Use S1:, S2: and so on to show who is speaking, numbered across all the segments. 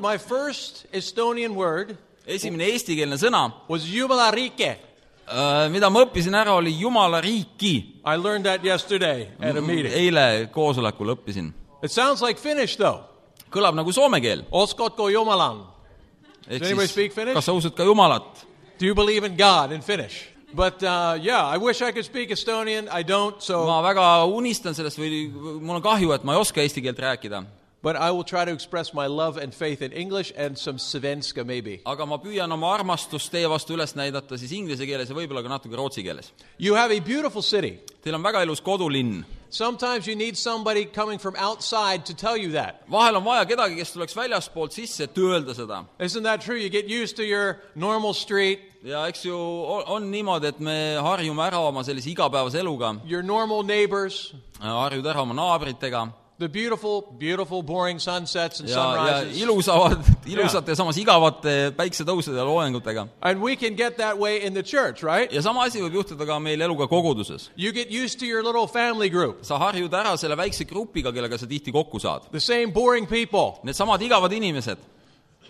S1: My first Estonian word
S2: esimene eestikeelne sõna ,
S1: was jumalarike.
S2: mida ma õppisin ära , oli jumala riiki .
S1: I learned that yesterday at
S2: Mm.
S1: a meeting.
S2: eile koosolekul õppisin .
S1: It sounds like Finnish though.
S2: kõlab nagu soome keel .
S1: Oskotko jumalan.
S2: ehk
S1: Does anybody speak
S2: siis ,
S1: Finnish?
S2: kas sa usud ka Jumalat ?
S1: Do you believe in God in Finnish? But uh, yeah, I wish I could speak Estonian. I don't, so.
S2: ma väga unistan sellest või mul on kahju , et ma ei oska eesti keelt rääkida .
S1: But I will try to express my love and faith in English and some Svenska maybe.
S2: aga ma püüan oma armastust teie vastu üles näidata siis inglise keeles ja võib-olla ka natuke rootsi keeles .
S1: You have a beautiful city.
S2: Teil on väga ilus kodulinn .
S1: Sometimes you need somebody coming from outside to tell you that.
S2: vahel on vaja kedagi , kes tuleks väljaspoolt sisse , et öelda seda .
S1: Isn't that true? You get used to your normal street,
S2: ja eks ju o- on niimoodi , et me harjume ära oma sellise igapäevase eluga ,
S1: your normal neighbors,
S2: harjud ära oma naabritega
S1: the beautiful, beautiful, boring sunsets and
S2: ja , ja
S1: sunrises.
S2: ilusavad , ilusate , samas igavate päiksetõusude ja loengutega .
S1: And we can get that way in the church, right?
S2: ja sama asi võib juhtuda ka meil eluga koguduses .
S1: You get used to your little family group,
S2: sa harjud ära selle väikse grupiga , kellega sa tihti kokku saad .
S1: the same boring people.
S2: Needsamad igavad inimesed ,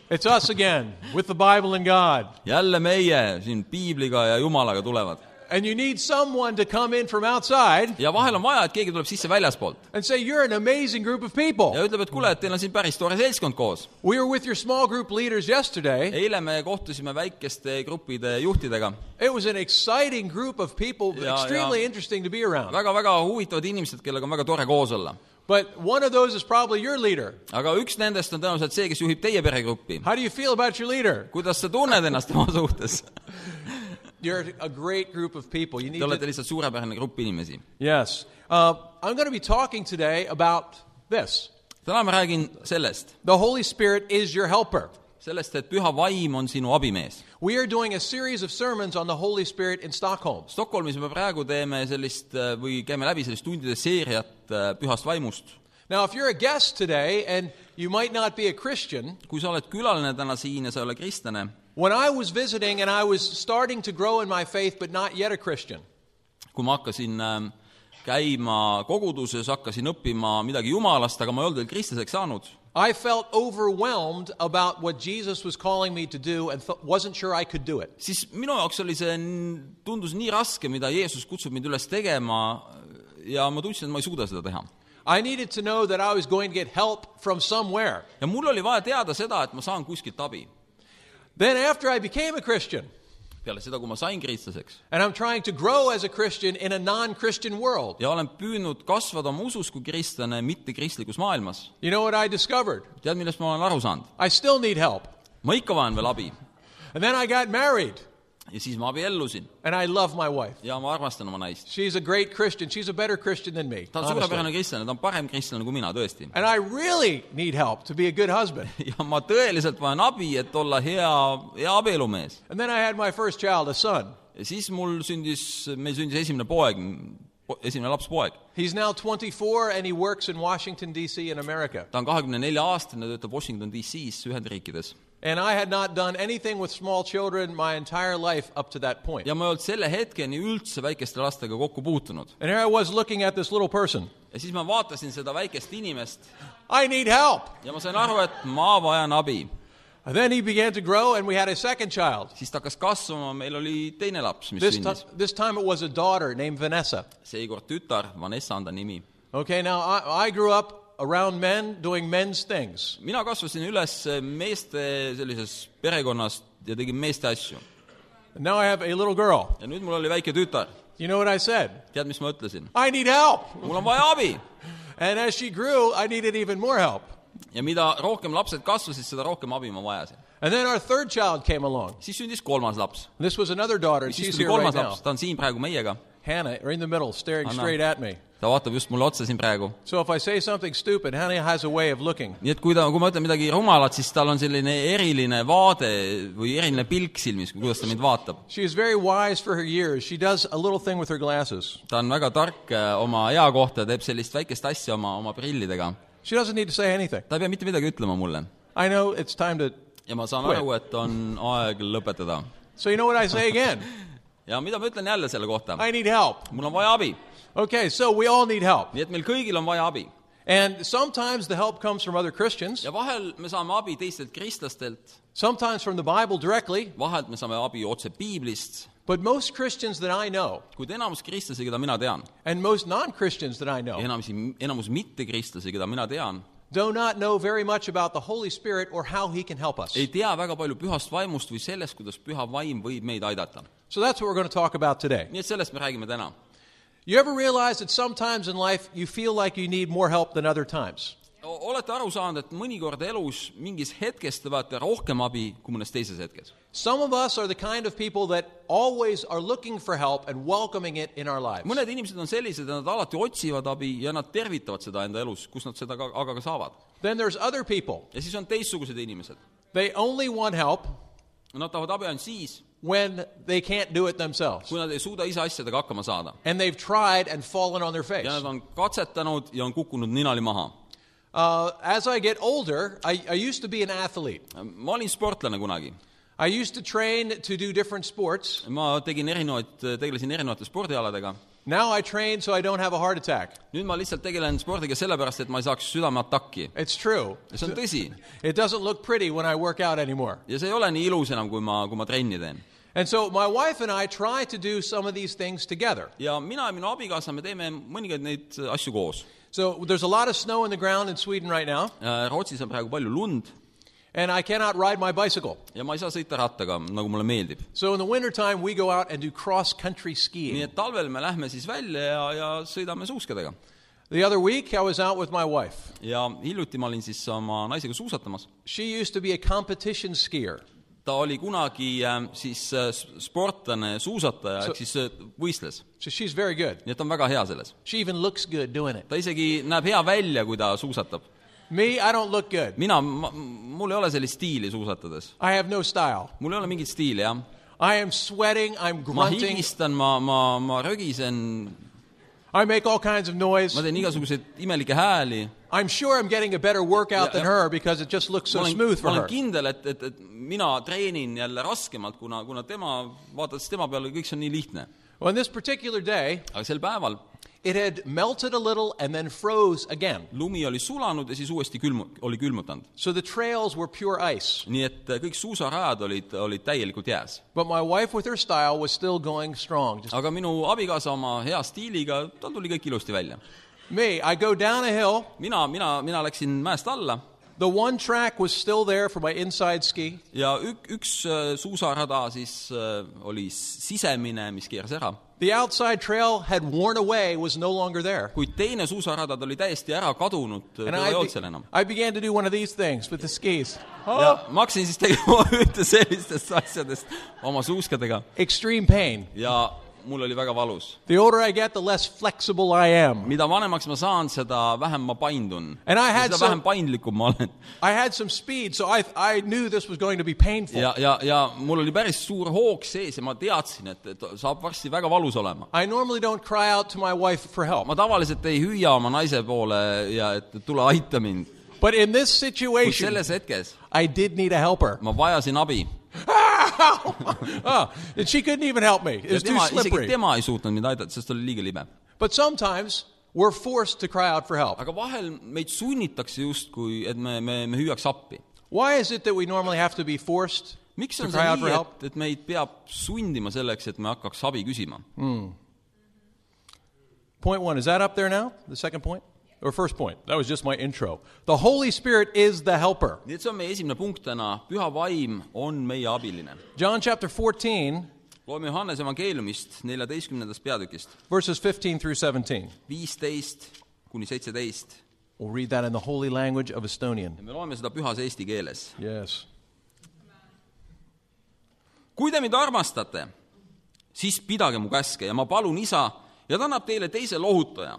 S1: It's us again with the Bible and God.
S2: jälle meie siin piibliga ja jumalaga tulevad .
S1: And you need someone to come in from outside
S2: ja vahel on vaja , et keegi tuleb sisse väljaspoolt
S1: and say, You're an amazing group of people.
S2: ja ütleb , et kuule , et teil on siin päris tore seltskond koos .
S1: We were with your small group leaders yesterday.
S2: eile me kohtusime väikeste gruppide juhtidega
S1: It was an exciting group of people,
S2: Yeah,
S1: extremely
S2: yeah.
S1: interesting to be around.
S2: väga, , väga-väga huvitavad inimesed , kellega on väga tore koos olla .
S1: But one of those is probably your leader.
S2: aga üks nendest on tõenäoliselt see , kes juhib teie peregruppi .
S1: How do you feel about your leader?
S2: kuidas sa tunned ennast tema suhtes ?
S1: You're a great group of people. You need
S2: Te olete
S1: to,
S2: lihtsalt suurepärane grupp inimesi .
S1: Yes. Uh, I'm going to be talking today about this.
S2: täna ma räägin sellest ,
S1: The Holy Spirit is your helper.
S2: sellest , et püha vaim on sinu abimees .
S1: We are doing a series of sermons on the Holy Spirit in Stockholm.
S2: Stockholmis me praegu teeme sellist äh, või käime läbi sellist tundide seeriat äh, pühast vaimust .
S1: Now, if you're a guest today and you might not be a Christian,
S2: kui sa oled külaline täna siin ja sa ei ole kristlane ,
S1: When I was visiting and I was starting to grow in my faith, but not yet a Christian,
S2: kui ma hakkasin äh, käima koguduses , hakkasin õppima midagi jumalast , aga ma ei olnud veel kristlaseks saanud ,
S1: I felt overwhelmed about what Jesus was calling me to do and th- wasn't sure I could do it.
S2: siis minu jaoks oli see , tundus nii raske , mida Jeesus kutsub mind üles tegema ja ma tundsin , et ma ei suuda seda teha .
S1: I needed to know that I was going to get help from somewhere.
S2: ja mul oli vaja teada seda , et ma saan kuskilt abi .
S1: Then, after I became a Christian,
S2: peale seda , kui ma sain kristlaseks
S1: and I'm trying to grow as a Christian in a non Christian world,
S2: ja olen püüdnud kasvada oma usus kui kristlane mittekristlikus maailmas ,
S1: you know what I discovered?
S2: tead , millest ma olen aru saanud ?
S1: I still need help.
S2: ma ikka vajan veel abi
S1: And then I got married,
S2: ja siis ma abiellusin
S1: and I love my wife.
S2: ja ma armastan oma naist .
S1: She's a great Christian. She's a better Christian than me.
S2: ta on
S1: honestly.
S2: suurepärane kristlane , ta on parem kristlane kui mina , tõesti .
S1: And I really need help to be a good husband.
S2: ja ma tõeliselt vajan abi , et olla hea , hea abielumees .
S1: And then I had my first child, a son.
S2: ja siis mul sündis , meil sündis esimene poeg , esimene laps poeg .
S1: He's now 24 and he works in Washington, D.C., in America.
S2: ta on kahekümne nelja aastane , töötab Washington DC-s Ühendriikides .
S1: And I had not done anything with small children my entire life up to that point.
S2: ja ma ei olnud selle hetkeni üldse väikeste lastega kokku puutunud .
S1: And here I was looking at this little person.
S2: ja siis ma vaatasin seda väikest inimest
S1: I need help.
S2: ja ma sain aru , et ma vajan abi .
S1: And then he began to grow and we had a second child.
S2: siis ta hakkas kasvama , meil oli teine laps , mis
S1: This, ti-
S2: sündis .
S1: this time it was a daughter named Vanessa.
S2: seekord tütar , Vanessa on ta nimi .
S1: Okay, now I, I grew up around men doing men's things.
S2: mina kasvasin üles meeste sellises perekonnas ja tegin meeste asju .
S1: And now I have a little girl.
S2: ja nüüd mul oli väike tütar .
S1: You know what I said?
S2: tead , mis ma ütlesin ?
S1: I need help.
S2: mul on vaja abi
S1: And as she grew, I needed even more help.
S2: ja mida rohkem lapsed kasvasid , seda rohkem abi ma vajasin .
S1: And then our third child came along.
S2: siis sündis kolmas laps .
S1: This was another daughter. and
S2: siis
S1: She's
S2: tuli
S1: here right
S2: kolmas
S1: now.
S2: laps , ta on siin praegu meiega .
S1: Hannah, right in the middle, staring
S2: Anna.
S1: straight at me.
S2: ta vaatab just mulle otsa siin praegu .
S1: So if I say something stupid, Hannah has a way of looking.
S2: nii et kui ta , kui ma ütlen midagi rumalat , siis tal on selline eriline vaade või eriline pilk silmis , kuidas ta mind vaatab .
S1: She is very wise for her years. She does a little thing with her glasses.
S2: ta on väga tark äh, oma ea kohta , teeb sellist väikest asja oma , oma prillidega .
S1: She doesn't need to say anything.
S2: ta ei pea mitte midagi ütlema mulle .
S1: I know it's time to.
S2: ja ma saan
S1: Kuule.
S2: aru , et on aeg lõpetada .
S1: So you know what I say again?
S2: ja mida ma ütlen jälle selle kohta ?
S1: I need help.
S2: mul on vaja abi .
S1: Okay, so we all need help.
S2: nii et meil kõigil on vaja abi .
S1: And sometimes the help comes from other Christians,
S2: ja vahel me saame abi teistelt kristlastelt ,
S1: sometimes from the Bible directly,
S2: vahelt me saame abi otse piiblist ,
S1: but most Christians that I know,
S2: kuid enamus kristlasi , keda mina tean ,
S1: and most non Christians that I know,
S2: ja enamisi , enamus mittekristlasi , keda mina tean ,
S1: do not know very much about the Holy Spirit or how He can help us.
S2: ei tea väga palju pühast vaimust või sellest , kuidas püha vaim võib meid aidata .
S1: So that's what we're going to talk about today.
S2: nii et sellest me räägime täna .
S1: You ever realize that sometimes in life you feel like you need more help than other times?
S2: olete aru saanud , et mõnikord elus mingis hetkes te vajate rohkem abi kui mõnes teises hetkes ?
S1: Some of us are the kind of people that always are looking for help and welcoming it in our lives.
S2: mõned inimesed on sellised , et nad alati otsivad abi ja nad tervitavad seda enda elus , kus nad seda ka , aga ka saavad .
S1: Then there's other people.
S2: ja siis on teistsugused inimesed .
S1: They only want help
S2: Nad tahavad abi ainult siis ,
S1: when they can't do it themselves.
S2: kui nad ei suuda ise asjadega hakkama saada .
S1: And they've tried and fallen on their face.
S2: ja nad on katsetanud ja on kukkunud ninali maha .
S1: Uh, as I get older, I, I used to be an athlete.
S2: ma olin sportlane kunagi .
S1: I used to train to do different sports.
S2: ma tegin erinevaid , tegelesin erinevate spordialadega .
S1: Now I train so I don't have a heart attack.
S2: nüüd ma lihtsalt tegelen spordiga sellepärast , et ma ei saaks südameattakki .
S1: It's true.
S2: ja see on tõsi .
S1: It doesn't look pretty when I work out anymore.
S2: ja see ei ole nii ilus enam , kui ma , kui ma trenni teen .
S1: And so my wife and I try to do some of these things together.
S2: ja mina ja minu abikaasa , me teeme mõningaid neid asju koos .
S1: So there's a lot of snow on the ground in Sweden right now,
S2: Äh, Rootsis on praegu palju lund
S1: and I cannot ride my bicycle.
S2: ja ma ei saa sõita rattaga , nagu mulle meeldib .
S1: So in the wintertime, we go out and do cross country
S2: nii
S1: skiing.
S2: et talvel me lähme siis välja ja , ja sõidame suuskedega .
S1: The other week, I was out with my wife.
S2: ja hiljuti ma olin siis oma naisega suusatamas .
S1: She used to be a competition skier.
S2: ta oli kunagi äh, siis äh, s- sportlane , suusataja , ehk siis äh, võistles .
S1: So she's very good.
S2: nii et ta on väga hea selles .
S1: She even looks good doing it.
S2: ta isegi näeb hea välja , kui ta suusatab .
S1: Me, I don't look good.
S2: mina , mul ei ole sellist stiili suusatades .
S1: I have no style.
S2: mul ei ole mingit stiili , jah .
S1: I am sweating. I'm
S2: ma
S1: grunting.
S2: higistan , ma , ma , ma rögisen ,
S1: I make all kinds of noise.
S2: ma teen igasuguseid imelikke hääli .
S1: I'm sure I'm getting a better workout
S2: Yeah,
S1: than
S2: yeah.
S1: her because it just looks
S2: ma
S1: so
S2: olen,
S1: smooth
S2: ma
S1: for
S2: olen
S1: her.
S2: kindel , et , et , et mina treenin jälle raskemalt , kuna , kuna tema , vaadates tema peale , kõik see on nii lihtne .
S1: On this particular day,
S2: aga sel päeval
S1: it had melted a little and then froze again.
S2: lumi oli sulanud ja siis uuesti külmu- , oli külmutanud .
S1: So the trails were pure ice.
S2: nii et äh, kõik suusarajad olid , olid täielikult jääs .
S1: But my wife, with her style, was still going strong. Just
S2: aga minu abikaasa oma hea stiiliga , tal tuli kõik ilusti välja .
S1: me, I go down a hill.
S2: mina , mina , mina läksin mäest alla
S1: The one track was still there for my inside ski.
S2: ja ük- , üks äh, suusarada siis äh, oli s- sisemine , mis keeras ära ,
S1: The outside trail had worn away, was no longer there.
S2: kuid teine suusarada , ta oli täiesti ära kadunud ,
S1: And
S2: teda
S1: I,
S2: ei
S1: be-
S2: olnud seal enam .
S1: I began to do one of these things with the skis.
S2: ja
S1: Oh,
S2: ma hakkasin siis tegema ühte sellistest asjadest oma suuskedega
S1: extreme pain.
S2: ja mul oli väga valus .
S1: The older I get, the less flexible I am.
S2: mida vanemaks ma saan , seda vähem ma paindun .
S1: And I
S2: seda
S1: had
S2: some...
S1: some,
S2: vähem paindlikum ma olen .
S1: I had some speed, so I, I knew this was going to be painful.
S2: ja , ja , ja mul oli päris suur hoog sees ja ma teadsin , et , et saab varsti väga valus olema .
S1: I normally don't cry out to my wife for help,
S2: ma tavaliselt ei hüüa oma naise poole ja et tule aita mind .
S1: but in this
S2: kuid
S1: situation,
S2: selles hetkes
S1: I did need a helper.
S2: ma vajasin abi .
S1: Oh, and she couldn't even help me. It
S2: ja
S1: was too
S2: tema , isegi
S1: slippery.
S2: tema ei suutnud mind aidata , sest ta oli liiga libe .
S1: But sometimes we're forced to cry out for help.
S2: aga vahel meid sunnitakse justkui , et me , me , me hüüaks appi
S1: Why is it that we normally have to be forced?
S2: miks
S1: To
S2: on
S1: cry
S2: see
S1: out for
S2: nii ,
S1: help?
S2: et , et meid peab sundima selleks , et me hakkaks abi küsima ?
S1: Point one, is that up there now? The second point? Or first point? That was just my intro. The Holy Spirit is the helper.
S2: nii et see on meie esimene punkt täna , püha vaim on meie abiline .
S1: John chapter 14,
S2: loeme Johannese evangeeliumist neljateistkümnendast peatükist ,
S1: verses 15 through 17.
S2: viisteist kuni seitseteist
S1: We'll read that in the holy language of Estonian.
S2: ja me loeme seda pühas eesti keeles .
S1: Yes.
S2: kui te mind armastate , siis pidage mu käske ja ma palun isa ja ta annab teile teise lohutaja ,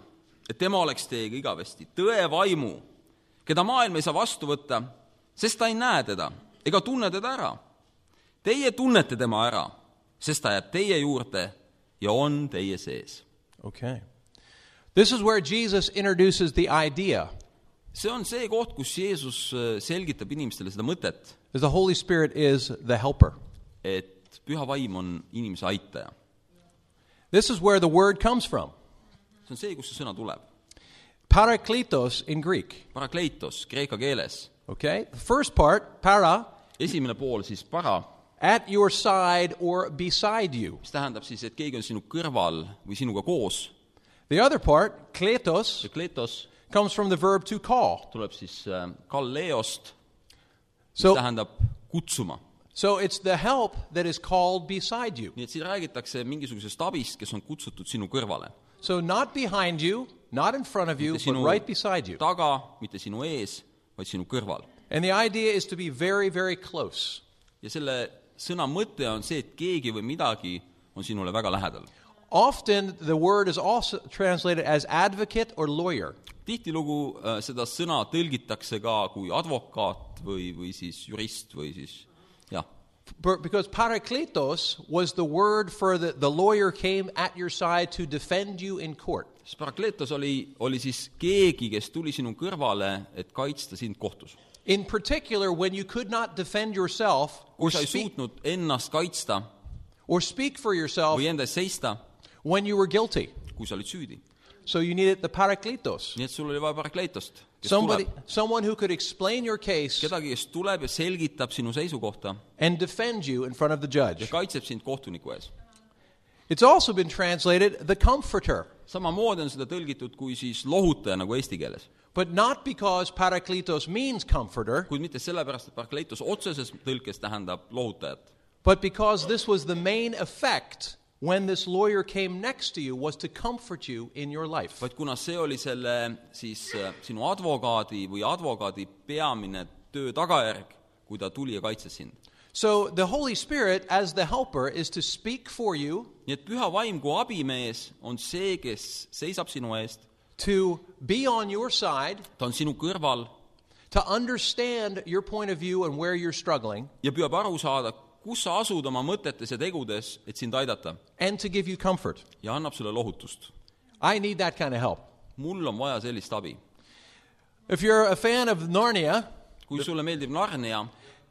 S2: et tema oleks teiega igavesti , tõe vaimu , keda maailm ei saa vastu võtta , sest ta ei näe teda ega tunne teda ära . Teie tunnete tema ära , sest ta jääb teie juurde ja on teie sees .
S1: Okay. This is where Jesus introduces the idea
S2: see on see koht , kus Jeesus äh, selgitab inimestele seda mõtet ,
S1: that the Holy Spirit is the helper.
S2: et püha vaim on inimese aitaja .
S1: This is where the word comes from.
S2: see on see , kust see sõna tuleb .
S1: parakletos in Greek.
S2: parakleitos kreeka keeles .
S1: Okay? The first part, para,
S2: esimene pool siis para ,
S1: at your side or beside you.
S2: mis tähendab siis , et keegi on sinu kõrval või sinuga koos .
S1: The other part, kletos,
S2: ja kletos
S1: comes from the verb to call.
S2: tuleb siis äh, kalleost , mis
S1: So,
S2: tähendab kutsuma .
S1: so it's the help that is called beside you.
S2: nii et siin räägitakse mingisugusest abist , kes on kutsutud sinu kõrvale .
S1: So not behind you, not in front of you,
S2: mitte
S1: but
S2: sinu
S1: right beside you.
S2: taga , mitte sinu ees , vaid sinu kõrval .
S1: And the idea is to be very, very close.
S2: ja selle sõna mõte on see , et keegi või midagi on sinule väga lähedal .
S1: Often the word is also translated as advocate or lawyer.
S2: tihtilugu äh, seda sõna tõlgitakse ka kui advokaat või , või siis jurist või siis jah ,
S1: B- Because parakletos was the word for the, the lawyer came at your side to defend you in court.
S2: siis parakletos oli , oli siis keegi , kes tuli sinu kõrvale , et kaitsta sind kohtus .
S1: In particular, when you could not defend yourself or
S2: kui sa ei
S1: speak,
S2: suutnud ennast kaitsta
S1: or speak for yourself
S2: või enda eest seista ,
S1: when you were guilty.
S2: kui sa olid süüdi .
S1: So you needed the parakletos.
S2: nii et sul oli vaja parakleitost , kes
S1: Somebody,
S2: tuleb ,
S1: someone who could explain your case
S2: kedagi , kes tuleb ja selgitab sinu seisukohta
S1: and defend you in front of the
S2: ja
S1: judge.
S2: kaitseb sind kohtuniku ees .
S1: It's also been translated the comforter,
S2: samamoodi on seda tõlgitud kui siis lohutaja nagu eesti keeles ,
S1: but not because parakletos means comforter,
S2: kuid mitte sellepärast , et parakleitos otseses tõlkes tähendab lohutajat ,
S1: but because this was the main effect when this lawyer came next to you was to comfort you in your life.
S2: vaid kuna see oli selle siis äh, sinu advokaadi või advokaadi peamine töö tagajärg , kui ta tuli ja kaitses sind .
S1: So the Holy Spirit as the helper is to speak for you,
S2: nii et püha vaim kui abimees on see , kes seisab sinu eest ,
S1: to be on your side,
S2: ta on sinu kõrval
S1: to understand your point of view and where you're struggling,
S2: ja püüab aru saada , kus sa asud oma mõtetes ja tegudes , et sind aidata
S1: and to give you comfort.
S2: ja annab sulle lohutust .
S1: I need that kind of help.
S2: mul on vaja sellist abi .
S1: If you're a fan of Narnia,
S2: kui sulle meeldib Narnia ,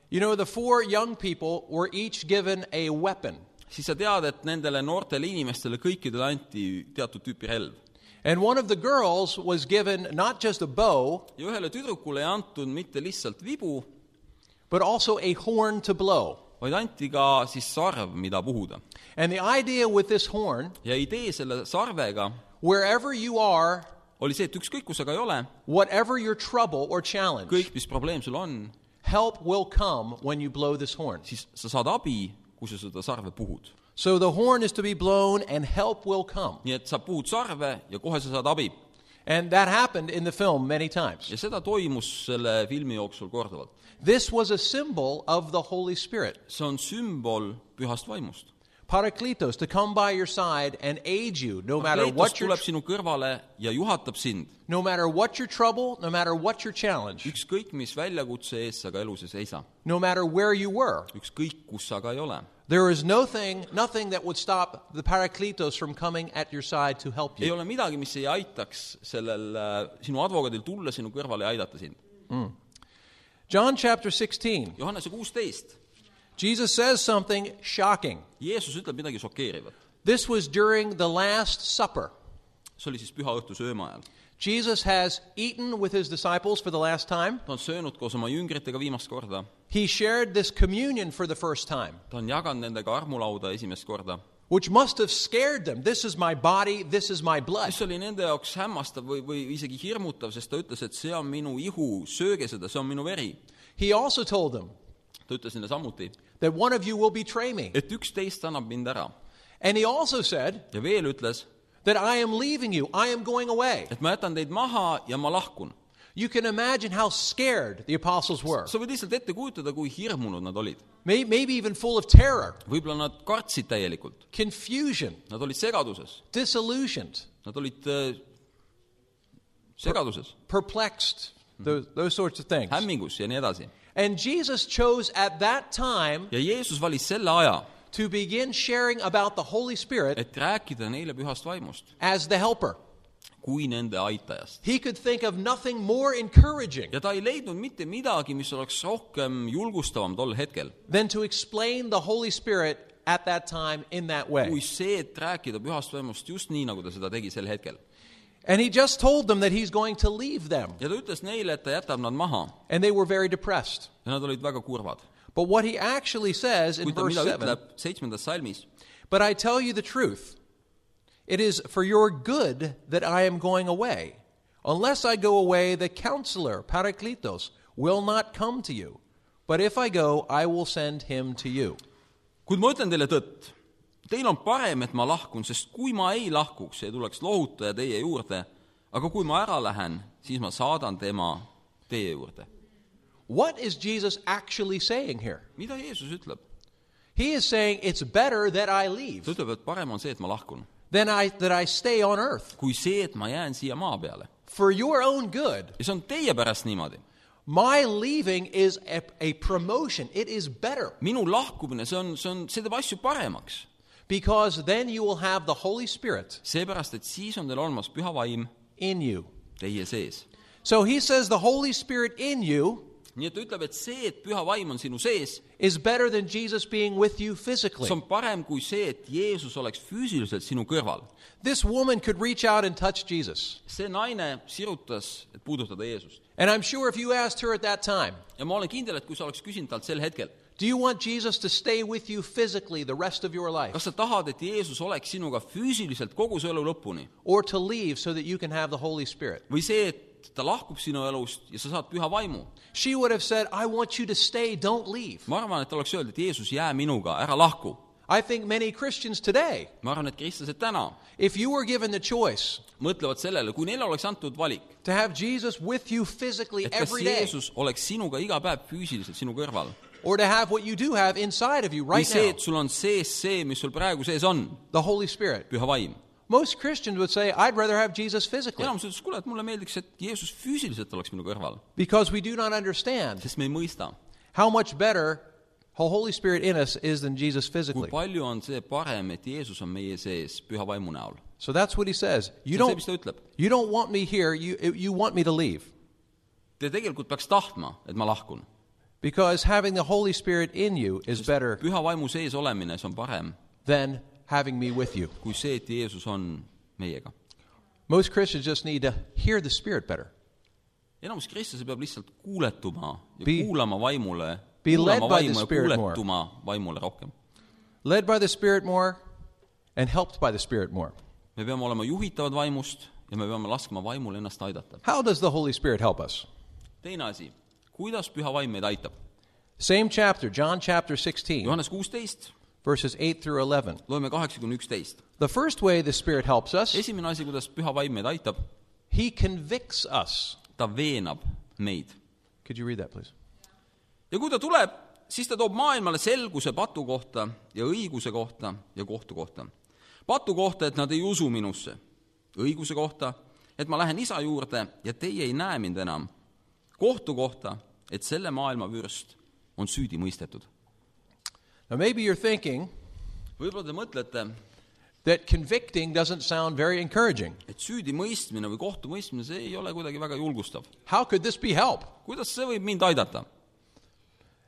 S1: you know the four young people were each given a weapon.
S2: siis sa tead , et nendele noortele inimestele kõikidele anti teatud tüüpi relv .
S1: And one of the girls was given not just a bow,
S2: ja ühele tüdrukule ei antud mitte lihtsalt vibu ,
S1: but also a horn to blow.
S2: vaid anti ka siis sarv , mida puhuda .
S1: And the idea with this horn,
S2: ja idee selle sarvega
S1: wherever you are,
S2: oli see , et ükskõik , kus sa ka ei ole ,
S1: whatever your trouble or challenge,
S2: kõik , mis probleem sul on ,
S1: help will come when you blow this horn.
S2: siis sa saad abi , kui sa seda sarve puhud .
S1: So the horn is to be blown and help will come.
S2: nii et sa puhud sarve ja kohe sa saad abi
S1: And that happened in the film many times.
S2: ja seda toimus selle filmi jooksul korduvalt .
S1: This was a symbol of the Holy Spirit.
S2: see on sümbol pühast vaimust .
S1: Parakletos to come by your side and aid you no matter
S2: Kleetos
S1: what your
S2: tuleb sinu kõrvale ja juhatab sind ,
S1: no matter what your trouble, no matter what your challenge,
S2: ükskõik mis väljakutse ees sa ka elus ei seisa ,
S1: no matter where you were.
S2: ükskõik kus sa ka ei ole .
S1: There is no thing nothing that would stop the Parakletos from coming at your side to help
S2: ei
S1: you.
S2: ole midagi , mis ei aitaks sellel äh, sinu advokaadil tulla sinu kõrvale ja aidata sind .
S1: John chapter 16.
S2: Johannese kuusteist ,
S1: Jesus says something shocking.
S2: Jeesus ütleb midagi šokeerivat .
S1: This was during the last supper.
S2: see oli siis pühaõhtu sööma ajal .
S1: Jesus has eaten with his disciples for the last time.
S2: ta on söönud koos oma jüngritega viimast korda ,
S1: He shared this communion for the first time,
S2: ta on jaganud nendega armulauda esimest korda
S1: which must have scared them. This is my body, this is my blood.
S2: mis oli nende jaoks hämmastav või , või isegi hirmutav , sest ta ütles , et see on minu ihu , sööge seda , see on minu veri .
S1: He also told them
S2: ta ütles neile samuti ,
S1: that one of you will betray me.
S2: et üksteist annab mind ära
S1: And he also said
S2: ja veel ütles ,
S1: that I am leaving you, I am going away.
S2: et ma jätan teid maha ja ma lahkun .
S1: You can imagine how scared the apostles were,
S2: sa võid lihtsalt ette kujutada , kui hirmunud nad olid .
S1: May- maybe even full of terror,
S2: võib-olla nad kartsid täielikult ,
S1: confusion,
S2: nad olid segaduses ,
S1: disillusioned,
S2: nad olid äh, segaduses ,
S1: perplexed, those, those sorts of things.
S2: hämmingus ja nii edasi .
S1: And Jesus chose at that time
S2: ja Jeesus valis selle aja ,
S1: to begin sharing about the Holy Spirit
S2: et rääkida neile pühast vaimust
S1: as the helper.
S2: kui nende aitajast .
S1: He could think of nothing more encouraging
S2: ja ta ei leidnud mitte midagi , mis oleks rohkem julgustavam tol hetkel ,
S1: than to explain the Holy Spirit at that time in that way.
S2: kui see , et rääkida pühast vaimust just nii , nagu ta seda tegi sel hetkel .
S1: And he just told them that he's going to leave them.
S2: ja ta ütles neile , et ta jätab nad maha
S1: And they were very depressed.
S2: ja nad olid väga kurvad .
S1: But what he actually says in
S2: kuid ta
S1: verse
S2: mida
S1: 7
S2: ütleb seitsmendas salmis ?
S1: But I tell you the truth. It is for your good that I am going away. Unless I go away, the counselor, Parakletos, will not come to you. But if I go, I will send him to you.
S2: kuid ma ütlen teile tõtt . Teil on parem , et ma lahkun , sest kui ma ei lahkuks , ei tuleks lohutaja teie juurde , aga kui ma ära lähen , siis ma saadan tema teie juurde .
S1: What is Jesus actually saying here?
S2: mida Jeesus ütleb ?
S1: He is saying it's better that I
S2: ta
S1: leave
S2: ütleb , et parem on see , et ma lahkun ,
S1: than I, that I stay on earth
S2: kui see , et ma jään siia maa peale .
S1: for your own good.
S2: ja see on teie pärast niimoodi .
S1: My leaving is a, a promotion. It is better
S2: minu lahkumine , see on , see on , see teeb asju paremaks .
S1: because then you will have the Holy Spirit
S2: seepärast , et siis on teil olemas püha vaim
S1: in you.
S2: teie sees .
S1: So he says the Holy Spirit in you
S2: nii et ta ütleb , et see , et püha vaim on sinu sees ,
S1: is better than Jesus being with you
S2: see
S1: physically.
S2: on parem kui see , et Jeesus oleks füüsiliselt sinu kõrval
S1: This woman could reach out and touch Jesus.
S2: see naine sirutas , et puudutada Jeesust .
S1: And I'm sure if you asked her at that time,
S2: ja ma olen kindel , et kui sa oleks küsinud talt sel hetkel ,
S1: Do you want Jesus to stay with you physically the rest of your life
S2: kas sa tahad , et Jeesus oleks sinuga füüsiliselt kogu su elu lõpuni
S1: or to leave so that you can have the Holy Spirit?
S2: või see , et ta lahkub sinu elust ja sa saad püha vaimu .
S1: She would have said, I want you to stay, don't leave.
S2: ma arvan , et ta oleks öelnud , et Jeesus , jää minuga , ära lahku .
S1: I think many Christians today,
S2: ma arvan , et kristlased täna
S1: if you were given the choice
S2: mõtlevad sellele , kui neile oleks antud valik ,
S1: to have Jesus with you physically
S2: et kas
S1: every day
S2: Jeesus oleks sinuga iga päev füüsiliselt sinu kõrval
S1: or to have what you do have inside of you
S2: või
S1: right
S2: see ,
S1: now,
S2: et sul on sees see , mis sul praegu sees on ,
S1: the Holy Spirit.
S2: püha vaim .
S1: Most Christians would say, I'd rather have Jesus physically
S2: enamus ütles , kuule , et mulle meeldiks , et Jeesus füüsiliselt oleks minu kõrval ,
S1: because we do not understand
S2: sest me ei mõista
S1: how much better the Holy Spirit in us is than Jesus physically.
S2: kui palju on see parem , et Jeesus on meie sees püha vaimu näol ?
S1: So that's what he says. You
S2: see on see , mis
S1: don't,
S2: ta ütleb .
S1: you don't want me here, you, you want me to leave.
S2: Te tegelikult peaks tahtma , et ma lahkun .
S1: Because having the Holy Spirit in you is better
S2: püha vaimu sees olemine , see on parem
S1: than having me with you.
S2: kui see , et Jeesus on meiega .
S1: Most Christians just need to hear the Spirit better,
S2: enamus kristlasi peab lihtsalt kuuletuma ja
S1: Be-
S2: be, kuulama vaimule ,
S1: be led
S2: kuulama
S1: by the
S2: vaimu ja
S1: Spirit more.
S2: kuuletuma vaimule rohkem .
S1: led by the Spirit more and helped by the Spirit more.
S2: me peame olema juhitavad vaimust ja me peame laskma vaimul ennast aidata .
S1: How does the Holy Spirit help us?
S2: teine asi , kuidas püha vaim meid aitab ?
S1: Same chapter, John chapter 16,
S2: Johannes kuusteist ,
S1: verses 8 through 11.
S2: loeme kaheksa kuni üksteist .
S1: The first way the Spirit helps us,
S2: esimene asi , kuidas püha vaim meid aitab ,
S1: He convicts us.
S2: ta veenab meid
S1: Could you read that, please?
S2: ja kui ta tuleb , siis ta toob maailmale selguse patu kohta ja õiguse kohta ja kohtu kohta . patu kohta , et nad ei usu minusse . õiguse kohta , et ma lähen isa juurde ja teie ei näe mind enam . kohtu kohta , et selle maailma vürst on süüdi mõistetud .
S1: Now, maybe you're thinking
S2: võib-olla te mõtlete ,
S1: that convicting doesn't sound very encouraging.
S2: et süüdimõistmine või kohtumõistmine , see ei ole kuidagi väga julgustav .
S1: How could this be help?
S2: kuidas see võib mind aidata ?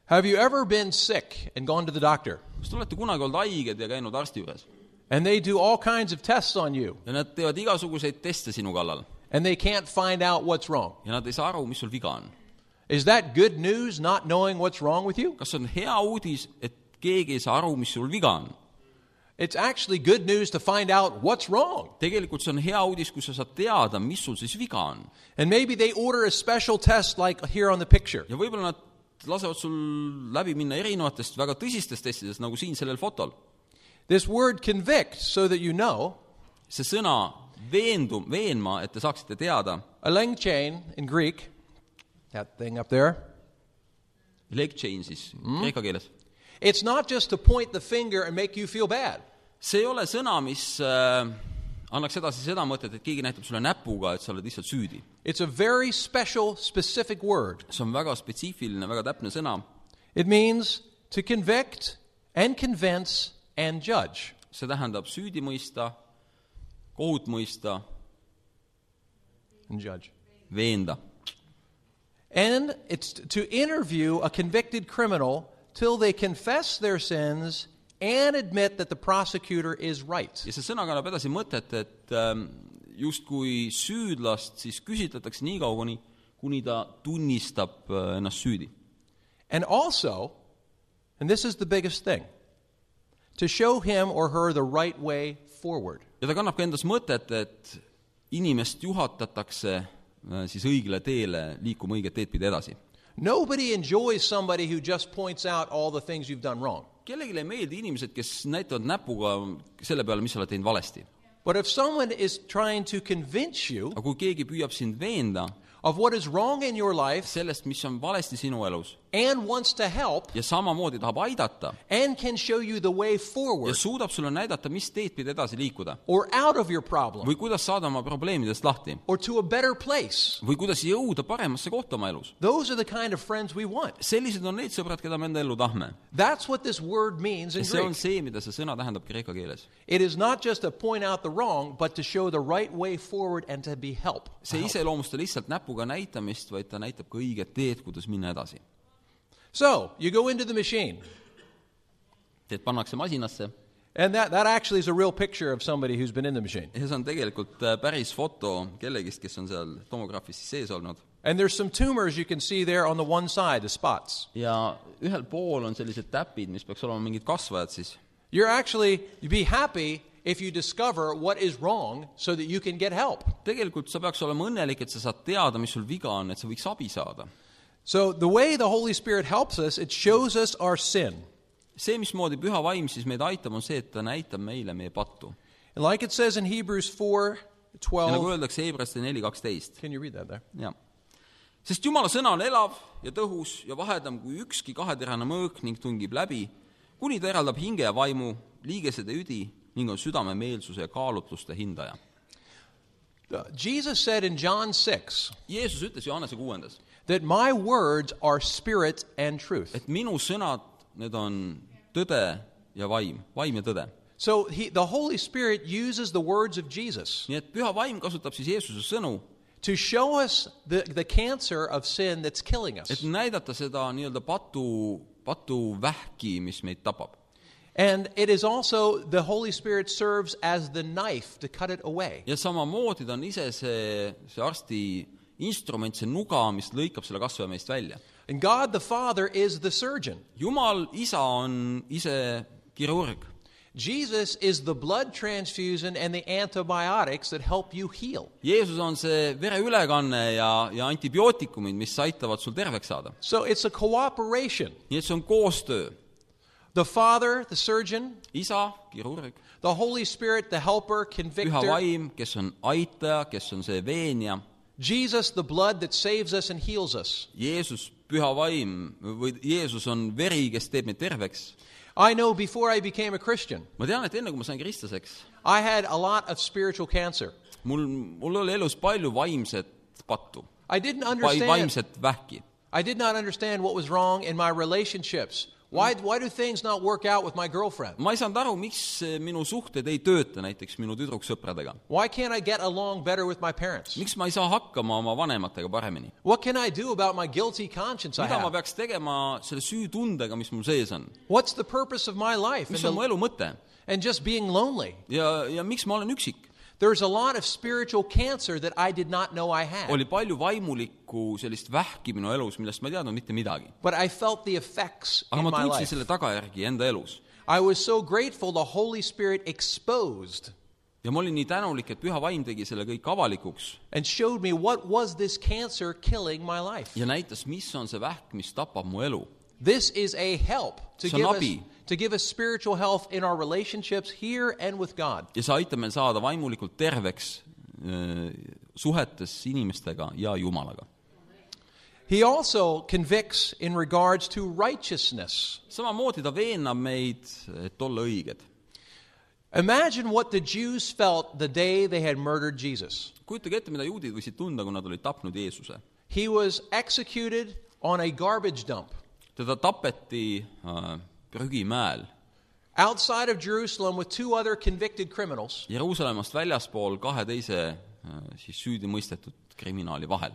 S1: Have you ever been sick and gone to the doctor?
S2: kas te olete kunagi olnud haiged ja käinud arsti juures
S1: And they do all kinds of tests on you,
S2: ja nad teevad igasuguseid teste sinu kallal
S1: and they can't find out what's wrong.
S2: ja nad ei saa aru , mis sul viga on
S1: Is that good news, not knowing what's wrong with you?
S2: kas on hea uudis , et keegi ei saa aru , mis sul viga on ?
S1: It's actually good news to find out what's wrong.
S2: tegelikult see on hea uudis , kui sa saad teada , mis sul siis viga on .
S1: And maybe they order a special test like here on the picture.
S2: ja võib-olla nad lasevad sul läbi minna erinevatest väga tõsistest testidest , nagu siin sellel fotol .
S1: This word convict, so that you know,
S2: see sõna veendu , veenma , et te saaksite teada ,
S1: Elengchain in Greek, that thing up there,
S2: leg changes mm. kreeka keeles .
S1: it's not just to point the finger and make you feel bad.
S2: see ei ole sõna , mis äh, annaks edasi seda mõtet , et keegi näitab sulle näpuga , et sa oled lihtsalt süüdi .
S1: It's a very special, specific word.
S2: see on väga spetsiifiline , väga täpne sõna .
S1: It means to convict and convince and judge.
S2: see tähendab süüdi mõista , kohut mõista ,
S1: And judge.
S2: veenda
S1: And it's to interview a convicted criminal till they confess their sins and admit that the prosecutor is right.
S2: ja see sõna kannab edasi mõtet , et ähm, justkui süüdlast siis küsitletakse nii kaua , kuni , kuni ta tunnistab äh, ennast süüdi .
S1: And also, and this is the biggest thing, to show him or her the right way forward.
S2: ja ta kannab ka endas mõtet , et inimest juhatatakse äh, siis õigele teele liikuma õiget teed pidi edasi .
S1: Nobody enjoys somebody who just points out all the things you've done wrong.
S2: kellelegi ei meeldi inimesed , kes näitavad näpuga selle peale , mis sa oled teinud valesti .
S1: But if someone is trying to convince you
S2: aga kui keegi püüab sind veenda
S1: of what is wrong in your life
S2: sellest , mis on valesti sinu elus
S1: and wants to help
S2: ja samamoodi tahab aidata
S1: and can show you the way
S2: ja
S1: forward
S2: suudab sulle näidata , mis teed pidi edasi liikuda
S1: or out of your problem
S2: või kuidas saada oma probleemidest lahti
S1: or to a better place,
S2: või kuidas jõuda paremasse kohta oma elus .
S1: those are the kind of friends we want.
S2: sellised on need sõbrad , keda me enda ellu tahme .
S1: That's what this word means in
S2: ja see on
S1: Greek.
S2: see , mida see sõna tähendab kreeka keeles .
S1: It is not just to point out the wrong, but to show the right way forward and to be help.
S2: see ei iseloomusta lihtsalt näpuga näitamist , vaid ta näitab ka õiget teed , kuidas minna edasi .
S1: So you go into the machine,
S2: et pannakse masinasse
S1: and that, that actually is a real picture of somebody who's been in the machine.
S2: ja see on tegelikult äh, päris foto kellegist , kes on seal tomograafis siis sees olnud .
S1: And there's some tumors you can see there on the one side, the spots.
S2: ja ühel pool on sellised täpid , mis peaks olema mingid kasvajad siis .
S1: You're actually, you'd be happy if you discover what is wrong so that you can get help.
S2: tegelikult sa peaks olema õnnelik , et sa saad teada , mis sul viga on , et sa võiks abi saada .
S1: So the way the Holy Spirit helps us, it shows us our sin.
S2: see , mismoodi püha vaim siis meid aitab , on see , et ta näitab meile meie pattu .
S1: And like it says in Hebrews 4
S2: ja nagu
S1: 12,
S2: öeldakse Heebraste neli kaksteist .
S1: can you read that there?
S2: jah . sest Jumala sõna on elav ja tõhus ja vahedam kui ükski kaheterane mõõk ning tungib läbi , kuni ta eraldab hinge ja vaimu , liigesed ja üdi ning on südamemeelsuse ja kaalutluste hindaja .
S1: Uh, Jesus said in John 6
S2: Jeesus ütles Johannese kuuendas ,
S1: that my words are spirit and truth.
S2: et minu sõnad , need on tõde ja vaim , vaim ja tõde .
S1: So he, the Holy Spirit uses the words of Jesus
S2: nii et püha vaim kasutab siis Jeesuse sõnu ,
S1: to show us the, the cancer of sin that's killing
S2: et
S1: us.
S2: näidata seda nii-öelda patu , patuvähki , mis meid tapab .
S1: And it is also the Holy Spirit serves as the knife to cut it away.
S2: ja samamoodi ta on ise see , see arsti instrument , see nuga , mis lõikab selle kasvaja meist välja .
S1: And God the Father is the surgeon.
S2: jumal isa on ise kirurg
S1: Jesus is the blood transfusion and the antibiotics that help you heal.
S2: Jeesus on see vereülekanne ja , ja antibiootikumid , mis aitavad sul terveks saada .
S1: So it's a cooperation.
S2: nii et see on koostöö .
S1: The Father, the surgeon,
S2: isa , kirurg ,
S1: the Holy Spirit, the helper,
S2: püha
S1: convictor,
S2: vaim , kes on aitaja , kes on see veenja ,
S1: Jesus, the blood that saves us and heals us.
S2: Jeesus , püha vaim või Jeesus on veri , kes teeb meid terveks .
S1: I know before I became a Christian,
S2: ma tean , et enne kui ma sain kristlaseks ,
S1: I had a lot of spiritual cancer.
S2: mul , mul oli elus palju vaimset pattu ,
S1: I didn't understand.
S2: vaimset vähki
S1: I did not understand what was wrong in my relationships. Why, why do things not work out with my girlfriend?
S2: ma ei saanud aru , miks eh, minu suhted ei tööta näiteks minu tüdruksõpradega .
S1: Why can't I get along better with my parents?
S2: miks ma ei saa hakkama oma vanematega paremini ?
S1: What can I do about my guilty conscience I
S2: mida ma
S1: have?
S2: peaks tegema selle süütundega , mis mul sees on ?
S1: What's the purpose of my life and,
S2: mis on mu
S1: the-
S2: elu mõte ?
S1: and just being lonely?
S2: ja , ja miks ma olen üksik ?
S1: There's a lot of spiritual cancer that I did not know I had,
S2: oli palju vaimulikku sellist vähki minu elus , millest ma ei teadnud mitte midagi .
S1: but I felt the effects
S2: aga
S1: in
S2: ma
S1: my
S2: tundsin
S1: life.
S2: selle tagajärgi enda elus .
S1: I was so grateful the Holy Spirit exposed
S2: ja ma olin nii tänulik , et Püha Vaim tegi selle kõik avalikuks
S1: and showed me what was this cancer killing my life.
S2: ja näitas , mis on see vähk , mis tapab mu elu .
S1: This is a help to
S2: See on
S1: give, us,
S2: abi.
S1: to give us spiritual health in our relationships here and with God.
S2: ja see aitab meil saada vaimulikult terveks äh, suhetes inimestega ja Jumalaga .
S1: He also convicts in regards to righteousness.
S2: samamoodi ta veenab meid , et olla õiged
S1: Imagine what the Jews felt the day they had murdered Jesus.
S2: kujutage ette , mida juudid võisid tunda , kui nad olid tapnud Jeesuse .
S1: He was executed on a garbage dump
S2: teda tapeti äh, prügimäel
S1: outside of Jerusalem with two other convicted criminals.
S2: Jeruusalemmast väljaspool kahe teise äh, siis süüdi mõistetud kriminaali vahel .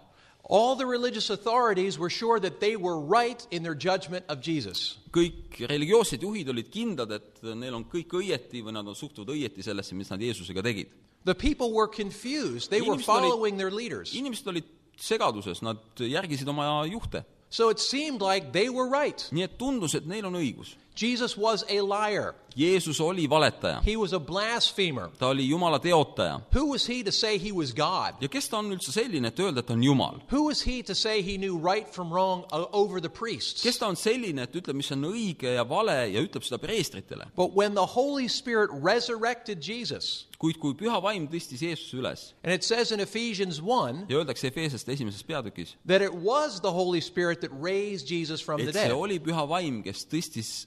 S1: All the religious authorities were sure that they were right in their judgment of Jesus.
S2: kõik religioossed juhid olid kindlad , et neil on kõik õieti või nad on suhtunud õieti sellesse , mis nad Jeesusega tegid .
S1: The people were confused. They were
S2: Inimesed olid-
S1: following their leaders.
S2: inimesed olid segaduses , nad järgisid oma juhte .
S1: So it seemed like they were right.
S2: nii et tundus , et neil on õigus .
S1: Jesus was a liar,
S2: Jeesus oli valetaja ,
S1: he was a blasphemer.
S2: ta oli Jumala teotaja .
S1: Who was he to say he was God?
S2: ja kes ta on üldse selline , et öelda , et ta on Jumal ?
S1: Who was he to say he knew right from wrong uh, over the priests?
S2: kes ta on selline , et ütleb , mis on õige ja vale ja ütleb seda preestritele ?
S1: But when the Holy Spirit resurrected Jesus,
S2: kuid kui püha vaim tõstis Jeesuse üles
S1: and it says in Ephesians 1
S2: ja öeldakse Efeesest esimeses peatükis ,
S1: that it was the Holy Spirit that raised Jesus from the
S2: et see
S1: dead.
S2: oli püha vaim , kes tõstis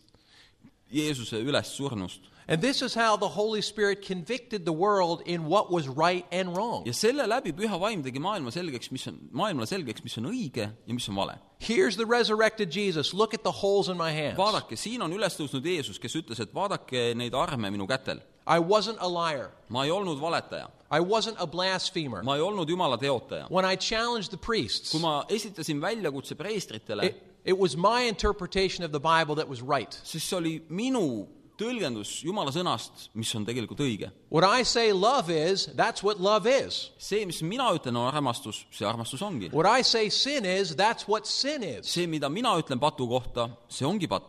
S2: Jeesuse üles surnust
S1: And this is how the Holy Spirit convicted the world in what was right and wrong.
S2: ja selle läbi püha vaim tegi maailma selgeks , mis on , maailmale selgeks , mis on õige ja mis on vale .
S1: Here's the resurrected Jesus. Look at the holes in my hands.
S2: vaadake , siin on üles tõusnud Jeesus , kes ütles , et vaadake neid arme minu kätel .
S1: I wasn't a liar.
S2: ma ei olnud valetaja ,
S1: I wasn't a blasphemer.
S2: ma ei olnud jumala teotaja .
S1: When I challenged the priests,
S2: kui ma esitasin väljakutse preestritele ,
S1: it, it was my interpretation of the Bible that was right.
S2: siis see oli minu tõlgendus jumala sõnast , mis on tegelikult õige .
S1: What I say love is, that's what love is.
S2: see , mis mina ütlen , on armastus , see armastus ongi .
S1: What I say sin is, that's what sin is.
S2: see , mida mina ütlen patu kohta , see ongi patt .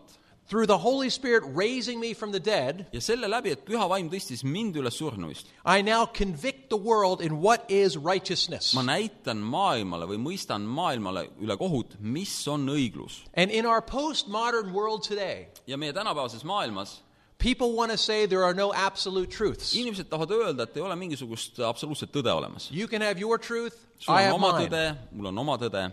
S1: Through the Holy Spirit raising me from the dead,
S2: ja selle läbi , et püha vaim tõstis mind üles surnuist ,
S1: I now convict the world in what is righteousness.
S2: ma näitan maailmale või mõistan maailmale üle kohut , mis on õiglus .
S1: And in our postmodern world today,
S2: ja meie tänapäevases maailmas
S1: people want to say there are no absolute truths.
S2: inimesed tahavad öelda , et ei ole mingisugust absoluutset tõde olemas .
S1: You can have your truth,
S2: sul
S1: I
S2: on
S1: have
S2: oma
S1: mine.
S2: tõde , mul on oma tõde ,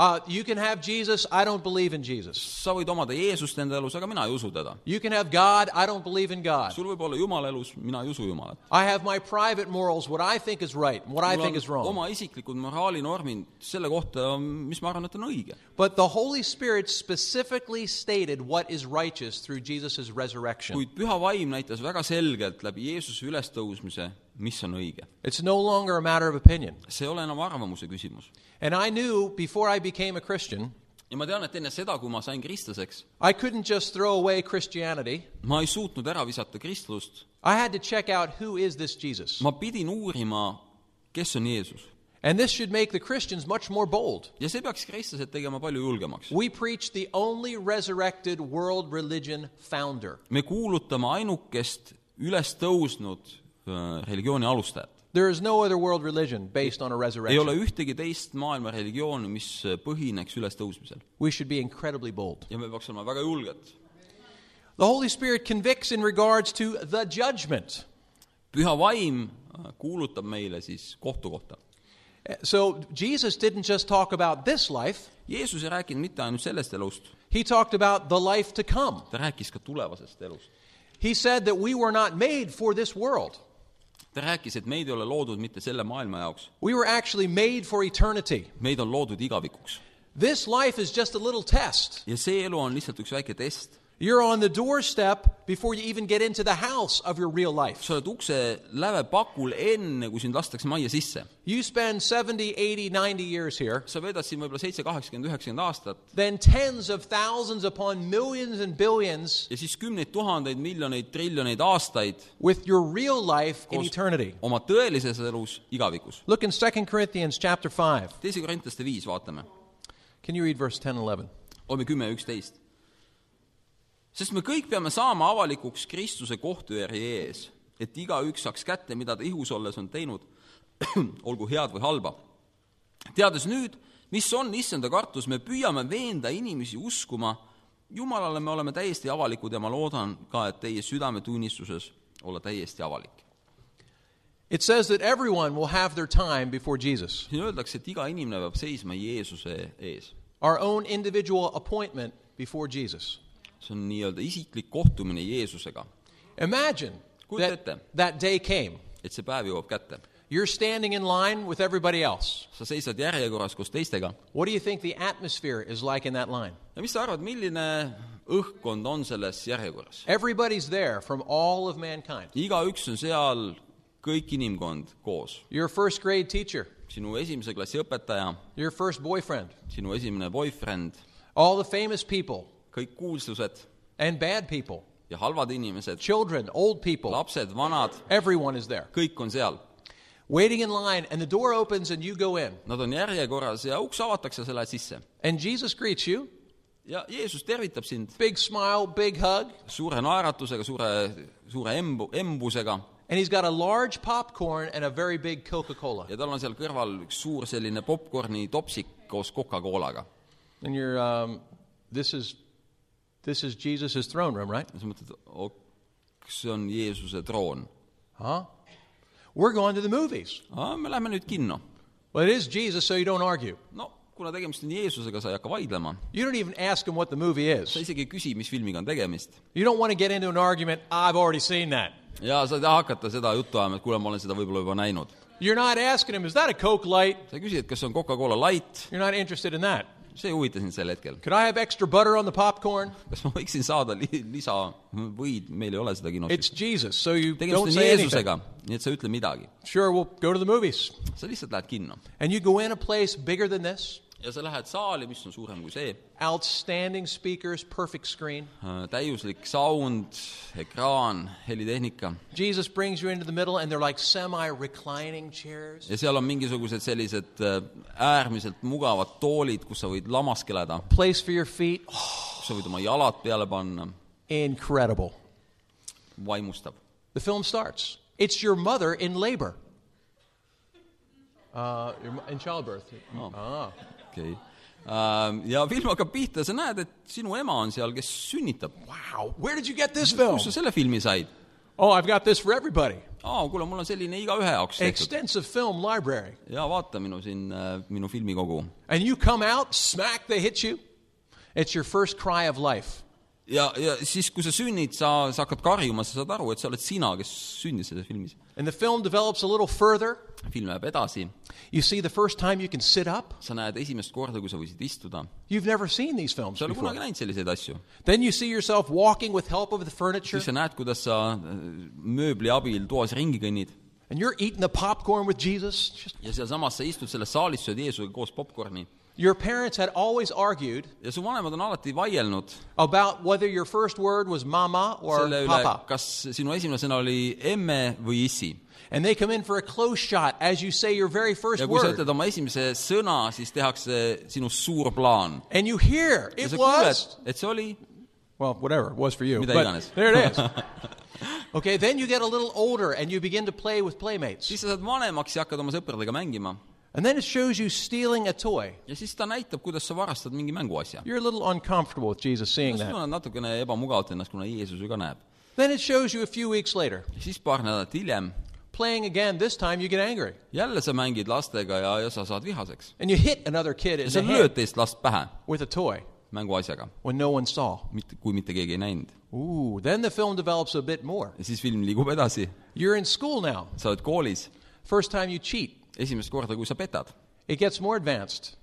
S1: Uh, you can have Jesus, I don't believe in Jesus.
S2: sa võid omada Jeesust enda elus , aga mina ei usu teda .
S1: You can have God, I don't believe in God.
S2: sul võib olla Jumal elus , mina ei usu Jumalat .
S1: I have my private morals, what I think is right, and what I think is
S2: mul on
S1: wrong.
S2: oma isiklikud moraalinormid selle kohta , mis ma arvan , et on õige .
S1: But the Holy Spirit specifically stated what is righteous through Jesus' resurrection.
S2: kuid püha vaim näitas väga selgelt läbi Jeesuse ülestõusmise , mis on õige .
S1: It's no longer a matter of opinion.
S2: see ei ole enam arvamuse küsimus .
S1: And I knew before I became a Christian,
S2: ja ma tean , et enne seda , kui ma sain kristlaseks ,
S1: I couldn't just throw away Christianity.
S2: ma ei suutnud ära visata kristlust ,
S1: I had to check out who is this Jesus.
S2: ma pidin uurima , kes on Jeesus .
S1: And this should make the Christians much more bold.
S2: ja see peaks kristlased tegema palju julgemaks .
S1: We preach the only resurrected world religion founder.
S2: me kuulutame ainukest ülestõusnud öö, religiooni alustajat .
S1: There is no other world religion based on a
S2: ei ole
S1: resurrection.
S2: ühtegi teist maailma religiooni , mis põhineks ülestõusmisel
S1: We should be incredibly bold.
S2: ja me peaks olema väga julged .
S1: The Holy Spirit convicts in regards to the judgment.
S2: püha vaim öö, kuulutab meile siis kohtu kohta .
S1: So Jesus didn't just talk about this life,
S2: Jeesus ei rääkinud mitte ainult sellest elust ,
S1: he talked about the life to come.
S2: ta rääkis ka tulevasest elust .
S1: He said that we were not made for this world.
S2: ta rääkis , et meid ei ole loodud mitte selle maailma jaoks ,
S1: We were actually made for eternity.
S2: meid on loodud igavikuks .
S1: This life is just a little test.
S2: ja see elu on lihtsalt üks väike test .
S1: You're on the doorstep before you even get into the house of your real life.
S2: sa oled ukse läve pakul enne , kui sind lastakse majja sisse .
S1: You spend 70, 80, 90 years here,
S2: sa veedad siin võib-olla seitse , kaheksakümmend , üheksakümmend aastat
S1: then tens of thousands upon millions and billions
S2: ja siis kümneid tuhandeid , miljoneid , triljoneid aastaid
S1: with your real life in
S2: Koos-
S1: eternity.
S2: oma tõelises elus igavikus .
S1: Look in 2 Corinthians chapter 5.
S2: teise korintlaste viis , vaatame ,
S1: Can you read verse 10 and 11?
S2: oleme kümme ja üksteist . sest me kõik peame saama avalikuks Kristuse kohtuäri ees , et igaüks saaks kätte , mida ta ihus olles on teinud , olgu head või halba . teades nüüd , mis on issanda kartus , me püüame veenda inimesi uskuma , Jumalale me oleme täiesti avalikud ja ma loodan ka , et teie südametunnistuses olla täiesti avalik .
S1: It says that everyone will have their time before Jesus.
S2: siin öeldakse , et iga inimene peab seisma Jeesuse ees
S1: Our own individual appointment before Jesus.
S2: see on nii-öelda isiklik kohtumine Jeesusega ,
S1: Imagine
S2: Good
S1: that,
S2: that-
S1: that day came.
S2: et see päev jõuab kätte .
S1: You're standing in line with everybody else.
S2: sa seisad järjekorras koos teistega
S1: What do you think the atmosphere is like in that line?
S2: ja mis sa arvad , milline õhkkond on selles järjekorras ?
S1: Everybody's there from all of mankind.
S2: igaüks on seal , kõik inimkond koos .
S1: Your first grade teacher,
S2: sinu esimese klassi õpetaja ,
S1: your first boyfriend,
S2: sinu esimene boyfriend ,
S1: all the famous people
S2: kõik kuulsused
S1: and bad people,
S2: ja halvad inimesed ,
S1: children, old people,
S2: lapsed , vanad ,
S1: everyone is there.
S2: kõik on seal .
S1: waiting in line, and the door opens and you go in.
S2: Nad on järjekorras ja uks avatakse, sa lähed sisse
S1: And Jesus greets you.
S2: ja Jeesus tervitab sind
S1: Big smile, big hug.
S2: suure naeratusega , suure , suure embu , embusega
S1: And he's got a large popcorn and a very big Coca Cola.
S2: ja tal on seal kõrval üks suur selline popkorni topsik koos Coca-Colaga .
S1: And you're, um, this is, this is Jesus' throne room, right?
S2: ja sa mõtled , kas see on Jeesuse troon ?
S1: Huh? We're going to the movies.
S2: me lähme nüüd kinno .
S1: Well, it is Jesus, so you don't argue.
S2: no kuna tegemist on Jeesusega , sa ei hakka vaidlema ,
S1: You don't even ask him what the movie
S2: sa
S1: is.
S2: isegi ei küsi , mis filmiga on tegemist .
S1: You don't want to get into an argument, I've already seen that.
S2: ja sa ei taha hakata seda juttu ajama , et kuule , ma olen seda võib-olla juba näinud .
S1: You're not asking him, is that a Coke light?
S2: sa ei küsi , et kas see on Coca-Cola light ,
S1: You're not interested in that.
S2: see ei huvita sind sel hetkel .
S1: Could I have extra butter on the popcorn?
S2: kas ma võiksin saada li lisa võid , meil ei ole seda kinos .
S1: It's Jesus, so you don't
S2: tegemist on
S1: say anything.
S2: Jeesusega , nii et sa ütle midagi .
S1: Sure, we'll go to the movies.
S2: sa lihtsalt lähed kinno
S1: And you go in a place bigger than this,
S2: ja sa lähed saali , mis on suurem kui see ,
S1: outstanding speakers, perfect screen.
S2: täiuslik sound , ekraan , helitehnika
S1: Jesus brings you into the middle, and they're like semi reclining chairs,
S2: ja seal on mingisugused sellised äh, äärmiselt mugavad toolid , kus sa võid lamaskeleda ,
S1: place for your feet.
S2: kus sa võid oma jalad peale panna ,
S1: Incredible.
S2: vaimustab .
S1: The film starts. It's your mother in labor. Uh, your mo- in childbirth. Ah.
S2: okei okay. . ja film hakkab pihta ja sa näed , et sinu ema on seal , kes sünnitab .
S1: Wow. Where did you get this film?
S2: kust sa selle filmi said ?
S1: Oh, I've got this for everybody.
S2: aa , kuule , mul on selline igaühe jaoks tehtud .
S1: Extensive film library.
S2: ja vaata minu siin , minu filmikogu .
S1: And you come out, smack, they hit you. It's your first cry of life.
S2: ja , ja siis , kui sa sünnid , sa , sa hakkad karjuma , sa saad aru , et sa oled sina , kes sündis selles filmis .
S1: And the film develops a little further.
S2: film läheb edasi ,
S1: You see the first time you can sit up.
S2: sa näed esimest korda , kui sa võisid istuda .
S1: You've never seen these films
S2: sa ei ole
S1: before.
S2: kunagi näinud selliseid asju
S1: Then you see yourself walking with help of the furniture,
S2: siis sa näed , kuidas sa äh, mööbli abil toas ringi kõnnid
S1: and you're eating the popcorn with Jesus. Just-
S2: ja sealsamas sa istud selles saalis , sööd Jeesusega koos popkorni
S1: Your parents had always argued
S2: ja su vanemad on alati vaielnud
S1: about whether your first word was mama or
S2: selle üle ,
S1: papa.
S2: kas sinu esimene sõna oli emme või issi .
S1: And they come in for a close shot as you say your very first
S2: ja kui sa
S1: word.
S2: ütled oma esimese sõna , siis tehakse sinust suur plaan .
S1: And you hear,
S2: ja
S1: it
S2: sa kuuled
S1: was. ,
S2: et see oli
S1: Well, whatever, it was for you.
S2: Mida
S1: but
S2: iganes.
S1: there it is. okay, then you get a little older and you begin to play with playmates.
S2: siis sa saad vanemaks ja hakkad oma sõpradega mängima
S1: And then it shows you stealing a toy.
S2: ja siis ta näitab , kuidas sa varastad mingi mänguasja .
S1: You're a little uncomfortable with Jesus seeing
S2: sa
S1: that.
S2: tunned natukene ebamugavalt ennast , kuna Jeesus ju ka näeb .
S1: Then it shows you a few weeks later.
S2: siis paar nädalat hiljem
S1: Playing again, this time you get angry.
S2: jälle sa mängid lastega ja , ja sa saad vihaseks .
S1: And you hit another kid in
S2: ja sa
S1: the
S2: lööd
S1: head
S2: teist last pähe
S1: with a toy
S2: mänguasjaga ,
S1: when no one saw.
S2: mitte , kui mitte keegi ei näinud .
S1: Ooh, then the film develops a bit more.
S2: ja siis film liigub edasi ,
S1: You're in school now.
S2: sa oled koolis ,
S1: First time you cheat,
S2: esimest korda , kui sa petad ,
S1: it gets more advanced.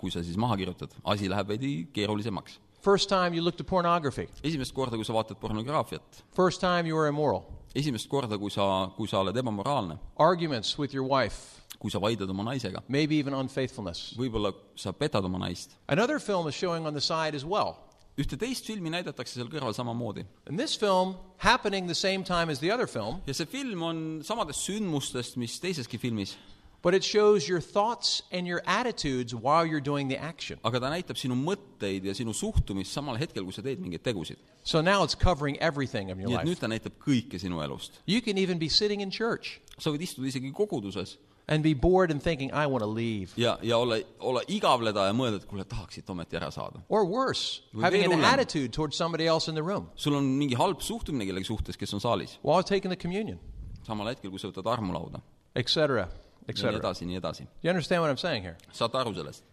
S2: kui sa siis maha kirjutad , asi läheb veidi keerulisemaks .
S1: First time you looked at pornography.
S2: esimest korda , kui sa vaatad pornograafiat ,
S1: First time you were immoral.
S2: esimest korda , kui sa , kui sa oled ebamoraalne ,
S1: Arguments with your wife,
S2: kui sa vaidled oma naisega ,
S1: maybe even unfaithfulness.
S2: võib-olla sa petad oma naist .
S1: Another film is showing on the side as well.
S2: ühte teist filmi näidatakse seal kõrval samamoodi .
S1: And this film, happening the same time as the other film,
S2: ja see film on samadest sündmustest , mis teiseski filmis ,
S1: but it shows your thoughts and your attitudes while you're doing the action.
S2: aga ta näitab sinu mõtteid ja sinu suhtumist samal hetkel , kui sa teed mingeid tegusid .
S1: So now it's covering everything of your
S2: nii et nüüd
S1: life.
S2: ta näitab kõike sinu elust .
S1: You can even be sitting in church
S2: sa võid istuda isegi koguduses
S1: and be bored and thinking, I want to leave.
S2: ja , ja olla , olla igavleda ja mõelda , et kuule , tahaks siit ometi ära saada .
S1: Or worse,
S2: Või
S1: having
S2: veel
S1: an
S2: hullem.
S1: attitude towards somebody else in the room
S2: sul on mingi halb suhtumine kellegi suhtes , kes on saalis ,
S1: while taking the communion,
S2: samal hetkel , kui sa võtad armulauda
S1: etc.,
S2: ja nii
S1: etc.
S2: edasi , nii edasi .
S1: You understand what I'm saying here?
S2: saate aru sellest ?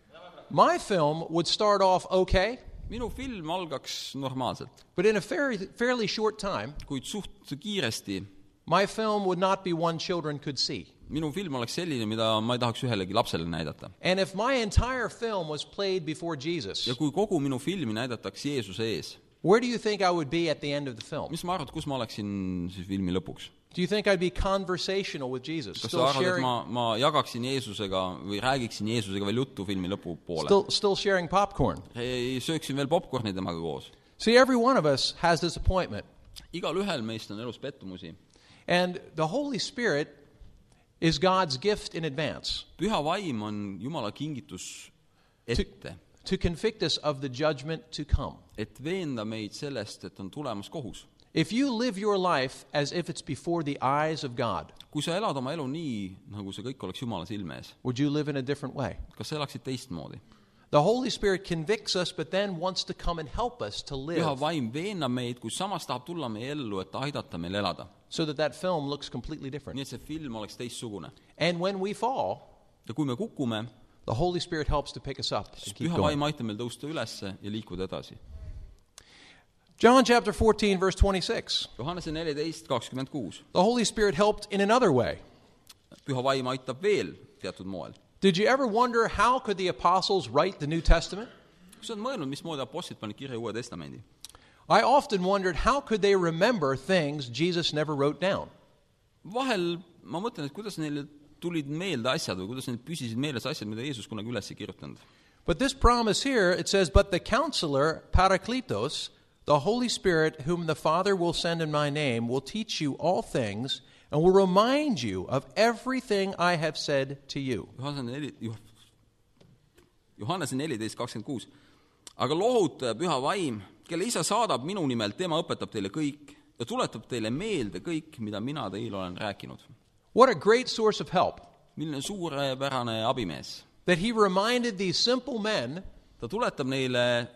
S1: My film would start off okay,
S2: minu film algaks normaalselt ,
S1: but in a fairly, fairly short time,
S2: kuid suht kiiresti
S1: my film would not be one children could see.
S2: minu film oleks selline , mida ma ei tahaks ühelegi lapsele näidata .
S1: And if my entire film was played before Jesus,
S2: ja kui kogu minu filmi näidatakse Jeesuse ees ,
S1: where do you think I would be at the end of the film?
S2: mis ma arvad , kus ma oleksin siis filmi lõpuks ?
S1: Do you think I'd be conversational with Jesus,
S2: kas
S1: still
S2: sa arvad , et
S1: sharing,
S2: ma , ma jagaksin Jeesusega või räägiksin Jeesusega veel juttu filmi lõpupoole ?
S1: still, still sharing popcorn?
S2: ei , sööksin veel popkorni temaga koos .
S1: See, every one of us has this appointment.
S2: igalühel meist on elus pettumusi
S1: And the Holy Spirit is God's gift in advance
S2: püha vaim on Jumala kingitus ette ,
S1: to convict us of the judgment to come.
S2: et veenda meid sellest , et on tulemas kohus .
S1: If you live your life as if it's before the eyes of God,
S2: kui sa elad oma elu nii , nagu see kõik oleks Jumala silme ees ,
S1: would you live in a different way?
S2: kas sa elaksid teistmoodi ?
S1: The Holy Spirit convicts us, but then wants to come and help us to
S2: püha
S1: live
S2: vaim veenab meid , kui samas tahab tulla meie ellu , et aidata meil elada .
S1: so that that film looks completely different.
S2: nii et see film oleks teistsugune .
S1: And when we fall,
S2: ja kui me kukume ,
S1: the Holy Spirit helps to pick us up and
S2: siis
S1: keep
S2: püha
S1: going.
S2: vaim aitab meil tõusta ülesse ja liikuda edasi .
S1: John chapter 14, verse 26.
S2: Johannese neliteist kakskümmend kuus ,
S1: The Holy Spirit helped in another way.
S2: püha vaim aitab veel teatud moel .
S1: Did you ever wonder how could the apostles write the New Testament?
S2: kas sa oled mõelnud , mismoodi apostlid panid kirja Uue Testamendi ?
S1: I often wondered how could they remember things Jesus never wrote down?
S2: vahel ma mõtlen , et kuidas neile tulid meelde asjad või kuidas neil püsisid meeles asjad , mida Jeesus kunagi üles ei kirjutanud .
S1: But this promise here, it says, But the counselor, Parakletos, the Holy Spirit, whom the Father will send in my name, will teach you all things and will remind you of everything I have said to you.
S2: Johannese neli , Johannese neliteist kakskümmend kuus . aga lohutaja püha vaim , kelle isa saadab minu nimel , tema õpetab teile kõik ja tuletab teile meelde kõik , mida mina teile olen rääkinud .
S1: What a great source of help
S2: milline suurepärane abimees .
S1: that he reminded these simple men
S2: ta tuletab neile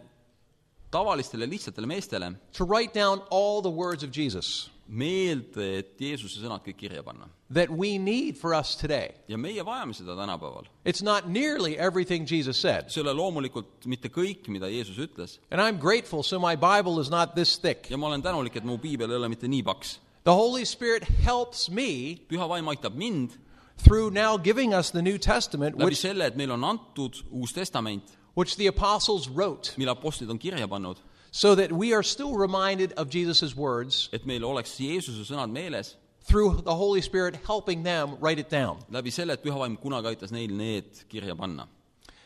S2: tavalistele lihtsatele meestele
S1: to write down all the words of Jesus
S2: meelde , et Jeesuse sõnad kõik kirja panna .
S1: that we need for us today.
S2: ja meie vajame seda tänapäeval .
S1: It's not nearly everything Jesus said.
S2: see ei ole loomulikult mitte kõik , mida Jeesus ütles
S1: And I'm grateful, so my Bible is not this thick.
S2: ja ma olen tänulik , et mu piibel ei ole mitte nii paks .
S1: The Holy Spirit helps me
S2: püha vaim aitab mind
S1: through now giving us the New Testament,
S2: läbi
S1: which,
S2: selle , et meil on antud Uus Testament ,
S1: which the apostles wrote,
S2: mille apostlid on kirja pannud ,
S1: so that we are still reminded of Jesus' words
S2: et meil oleks Jeesuse sõnad meeles ,
S1: through the Holy Spirit helping them write it down.
S2: läbi selle , et püha vaim kunagi aitas neil need kirja panna .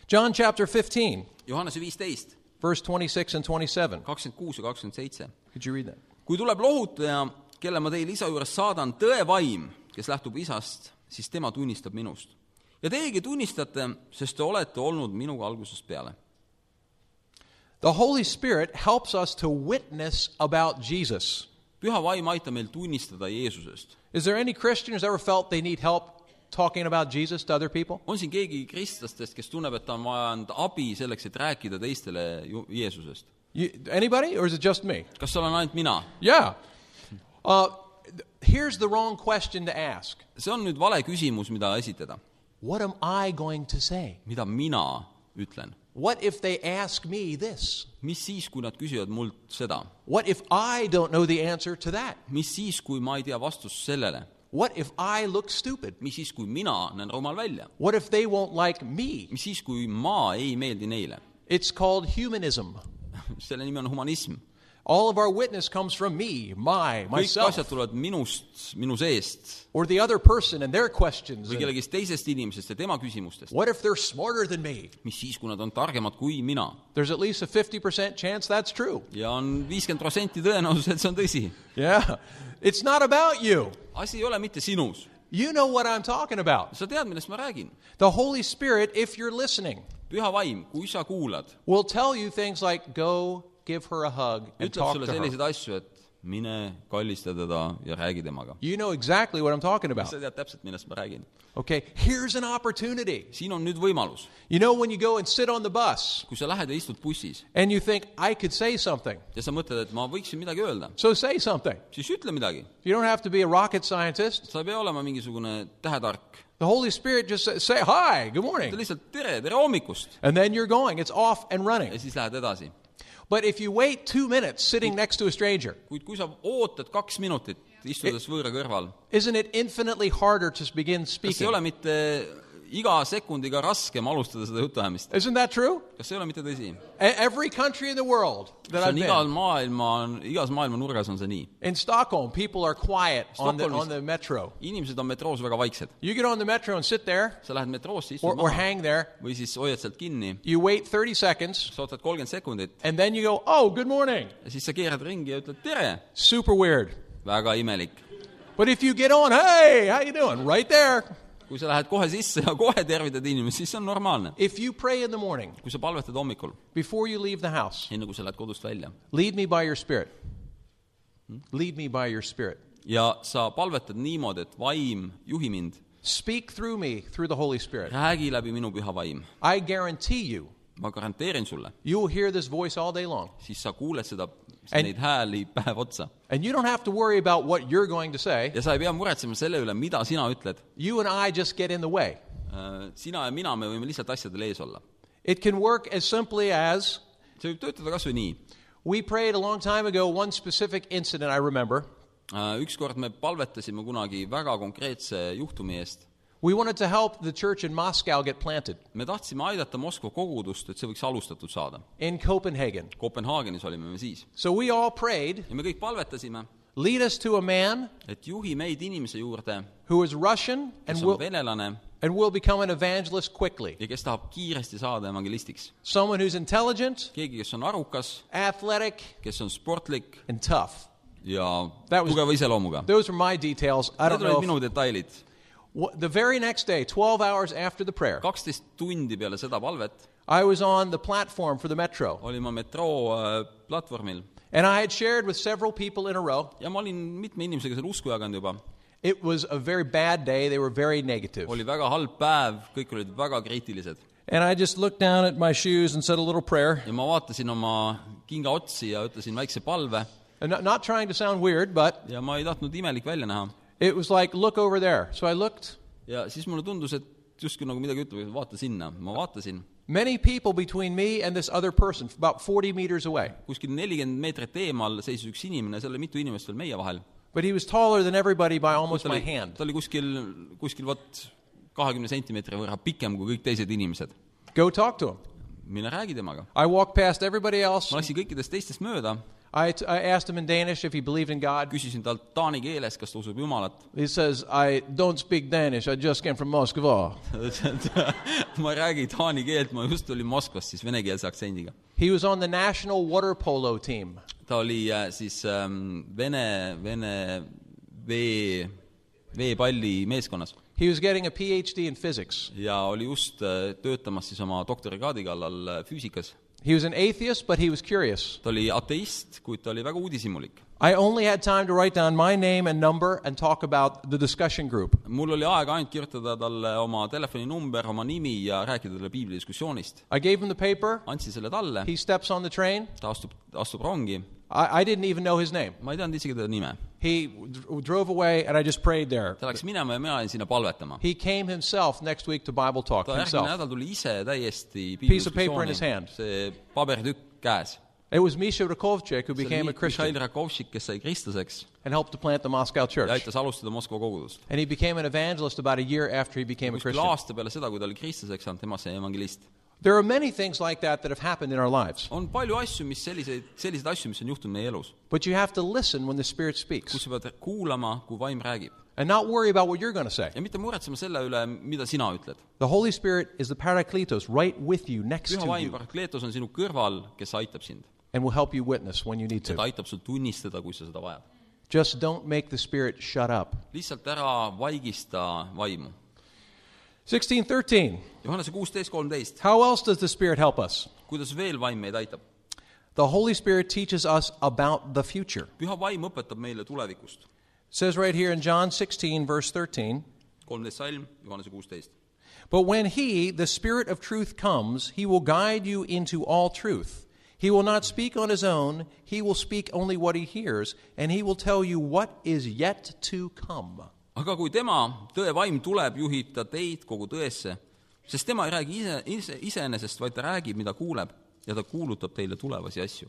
S1: John chapter 15,
S2: Johannese viisteist ,
S1: verse 26 and 27.
S2: kakskümmend kuus ja kakskümmend seitse .
S1: Could you read that?
S2: kui tuleb lohutaja , kelle ma teile isa juures saadan , tõevaim , kes lähtub isast , siis tema tunnistab minust . ja teiegi tunnistate , sest te olete olnud minuga algusest peale .
S1: The Holy Spirit helps us to witness about Jesus.
S2: püha vaim aitab meil tunnistada Jeesusest .
S1: Is there any Christian who's ever felt they need help talking about Jesus to other people?
S2: on siin keegi kristlastest , kes tunneb , et ta on vajanud abi selleks , et rääkida teistele ju- Jeesusest ?
S1: You, anybody, or is it just me?
S2: kas seal on ainult mina ?
S1: Yeah. Uh, th- here's the wrong question to ask
S2: see on nüüd vale küsimus , mida esitada .
S1: What am I going to say?
S2: mida mina ütlen ?
S1: What if they ask me this?
S2: mis siis , kui nad küsivad mult seda ?
S1: What if I don't know the answer to that?
S2: mis siis , kui ma ei tea vastust sellele ?
S1: What if I look stupid?
S2: mis siis , kui mina näen rumal välja ?
S1: What if they won't like me?
S2: mis siis , kui ma ei meeldi neile ?
S1: It's called humanism.
S2: selle nimi on humanism .
S1: All of our witness comes from me, my,
S2: kõik
S1: myself,
S2: asjad tulevad minust , minu seest
S1: or the other person and their questions.
S2: või
S1: And
S2: kellegist teisest inimesest ja tema küsimustest .
S1: what if they're smarter than me?
S2: mis siis , kui nad on targemad kui mina ?
S1: There's at least a 50% chance that's true.
S2: ja on viiskümmend protsenti tõenäosus , et see on tõsi .
S1: Yeah. It's not about you.
S2: asi ei ole mitte sinus .
S1: You know what I'm talking about.
S2: sa tead , millest ma räägin .
S1: The Holy Spirit, if you're listening,
S2: püha vaim , kui sa kuulad ,
S1: will tell you things like go give her a hug and
S2: ütleb
S1: talk
S2: sulle
S1: to her.
S2: selliseid asju , et mine kallista teda ja räägi temaga .
S1: You know exactly what I'm talking about.
S2: sa tead täpselt , millest ma räägin .
S1: Okay, here's an opportunity.
S2: siin on nüüd võimalus ,
S1: You know, when you go and sit on the bus
S2: kui sa lähed ja istud bussis
S1: and you think, I could say something,
S2: ja sa mõtled , et ma võiksin midagi öelda ,
S1: so say something.
S2: siis ütle midagi .
S1: You don't have to be a rocket scientist.
S2: sa ei pea olema mingisugune tähetark .
S1: The Holy Spirit just say, say hi, good
S2: ütle
S1: morning.
S2: lihtsalt tere , tere hommikust
S1: And then you're going, it's off and
S2: ja
S1: running.
S2: siis lähed edasi .
S1: But if you wait two minutes sitting next to a stranger,
S2: kuid kui sa ootad kaks minutit ,
S1: E-
S2: istudes võõra kõrval ,
S1: isn't it infinitely harder to begin
S2: kas ei ole
S1: speaking?
S2: mitte iga sekundiga raskem alustada seda jutuajamist ?
S1: Isn't that true?
S2: kas ei ole mitte tõsi ?
S1: E- Every country in the world that
S2: see
S1: I've
S2: on igal
S1: been,
S2: maailma , igas maailma nurgas on see nii .
S1: in Stockholm, people are quiet on the,
S2: Stockholmis-
S1: on the metro.
S2: inimesed on metroos väga vaiksed .
S1: You get on the metro and sit there
S2: sa lähed metroosse , istud
S1: or, or
S2: maha
S1: hang there.
S2: või siis hoiad sealt kinni ,
S1: You wait 30 seconds
S2: sa ootad kolmkümmend sekundit
S1: and then you go, oh, good morning.
S2: ja siis sa keerad ringi ja ütled tere .
S1: Super weird.
S2: väga imelik .
S1: But if you get on, hey, how you doing? Right there.
S2: kui sa lähed kohe sisse ja kohe tervitad inimesi , siis see on normaalne .
S1: If you pray in the morning
S2: kui sa palvetad hommikul ,
S1: before you leave the house,
S2: enne kui nagu sa lähed kodust välja
S1: lead me by your spirit. Lead me by your spirit.
S2: ja sa palvetad niimoodi , et vaim , juhi mind ,
S1: Speak through me through the Holy Spirit.
S2: räägi läbi minu püha vaim .
S1: I guarantee you,
S2: ma garanteerin sulle ,
S1: you'll hear this voice all day long.
S2: siis sa kuuled seda ,
S1: And-
S2: neid hääli päev otsa
S1: And you don't have to worry about what you're going to say.
S2: ja sa ei pea muretsema selle üle , mida sina ütled .
S1: You and I just get in the way.
S2: sina ja mina , me võime lihtsalt asjadel ees olla .
S1: It can work as simply as
S2: see võib töötada kas või nii .
S1: we prayed a long time ago, one specific incident I remember.
S2: Äh, ükskord me palvetasime kunagi väga konkreetse juhtumi eest .
S1: We wanted to help the church in Moscow get planted
S2: me tahtsime aidata Moskva kogudust , et see võiks alustatud saada .
S1: in Copenhagen.
S2: Kopenhaagenis olime me siis
S1: So we all prayed,
S2: ja me kõik palvetasime ,
S1: lead us to a man
S2: et juhi meid inimese juurde ,
S1: who is Russian and
S2: kes on
S1: will,
S2: venelane
S1: and will become an evangelist quickly.
S2: ja kes tahab kiiresti saada evangelistiks .
S1: Someone who's intelligent,
S2: keegi , kes on arukas ,
S1: athletic,
S2: kes on sportlik
S1: and tough.
S2: ja
S1: That was-
S2: tugeva iseloomuga .
S1: Those were my details. I don't
S2: Need
S1: know.
S2: olid
S1: if-
S2: minu detailid .
S1: Wha- the very next day, 12 hours after the prayer,
S2: kaksteist tundi peale seda palvet
S1: I was on the platform for the metro,
S2: olin ma metroo äh, platvormil
S1: and I had shared with several people in a row.
S2: ja ma olin mitme inimesega seal usku jaganud juba .
S1: It was a very bad day. They were very negative.
S2: oli väga halb päev , kõik olid väga kriitilised .
S1: And I just looked down at my shoes and said a little prayer.
S2: ja ma vaatasin oma kinga otsi ja ütlesin väikse palve
S1: And not, not trying to sound weird, but
S2: ja ma ei tahtnud imelik välja näha .
S1: it was like, look over there. So I looked.
S2: ja siis mulle tundus , et justkui nagu midagi ütleb , et vaata sinna . ma vaatasin ,
S1: Many people between me and this other person, about 40 meters away.
S2: kuskil nelikümmend meetrit emal seisis üks inimene , seal oli mitu inimest veel meie vahel .
S1: But he was taller than everybody by almost
S2: ta
S1: my
S2: oli
S1: hand. ,
S2: ta oli kuskil , kuskil vot kahekümne sentimeetri võrra pikem kui kõik teised inimesed .
S1: Go talk to him.
S2: mine räägi temaga .
S1: I walked past everybody else.
S2: ma läksin kõikidest teistest mööda
S1: I, I asked him in Danish if he believed in God.
S2: küsisin talt taani keeles , kas ta usub Jumalat .
S1: He says, I don't speak Danish. I just came from Moscow.
S2: ta ütles , et ma ei räägi taani keelt , ma just tulin Moskvast siis venekeelse aktsendiga .
S1: He was on the national water polo team.
S2: ta oli äh, siis ähm, vene , vene vee , veepalli meeskonnas
S1: He was getting a PhD in physics.
S2: ja oli just äh, töötamas siis oma doktorikraadi kallal äh, füüsikas .
S1: He was an atheist, but he was curious.
S2: ta oli ateist , kuid ta oli väga uudishimulik .
S1: I only had time to write down my name and number and talk about the discussion group.
S2: mul oli aega ainult kirjutada talle oma telefoninumber , oma nimi ja rääkida talle piiblidiskussioonist .
S1: I gave him the paper.
S2: andsin selle talle ,
S1: He steps on the train.
S2: ta astub , astub rongi ,
S1: I, I didn't even know his name.
S2: ma ei teadnud isegi teda nime
S1: He d- drove away, and I just prayed there.
S2: ta läks minema ja mina olin sinna palvetama .
S1: He came himself next week to Bible Talk
S2: ta järgmine
S1: himself.
S2: nädal tuli ise täiesti
S1: Piece of paper in his hand.
S2: see pabertükk käes .
S1: It was Misha Rakovchik who
S2: see
S1: became
S2: oli
S1: a Christian
S2: Mihhail Rakovšik , kes sai kristlaseks
S1: and helped to plant the Moscow
S2: ja
S1: church.
S2: aitas alustada Moskva kogudust .
S1: And he became an evangelist about a year after he became a
S2: kuskil
S1: Christian.
S2: aasta peale seda , kui ta oli kristlaseks saanud , temast sai evangelist .
S1: There are many things like that that have happened in our lives,
S2: on palju asju , mis selliseid , selliseid asju , mis on juhtunud meie elus ,
S1: but you have to listen when the Spirit
S2: kus
S1: speaks
S2: sa pead kuulama , kui vaim räägib .
S1: and not worry about what you're going to say.
S2: ja mitte muretsema selle üle , mida sina ütled .
S1: The Holy Spirit is the Parakletos right with you, next
S2: püha
S1: to
S2: vaim ,
S1: you,
S2: Parakletos on sinu kõrval , kes aitab sind .
S1: and will help you witness when you need
S2: ja
S1: to.
S2: ta aitab sul tunnistada , kui sa seda vajad .
S1: Just don't make the Spirit shut up.
S2: lihtsalt ära vaigista vaimu
S1: 1613.
S2: Johannese kuusteist , kolmteist ,
S1: How else does the Spirit help us?
S2: kuidas veel vaim meid aitab ?
S1: The Holy Spirit teaches us about the future.
S2: püha vaim õpetab meile tulevikust .
S1: It says right here in John 16, verse 13.
S2: kolmteist salm , Johannese kuusteist .
S1: But when He, the Spirit of truth, comes, He will guide you into all truth. He will not speak on His own, He will speak only what He hears, and He will tell you what is yet to come.
S2: aga kui tema , tõe vaim tuleb , juhib ta teid kogu tõesse , sest tema ei räägi ise , ise , iseenesest , vaid ta räägib , mida kuuleb ja ta kuulutab teile tulevasi asju .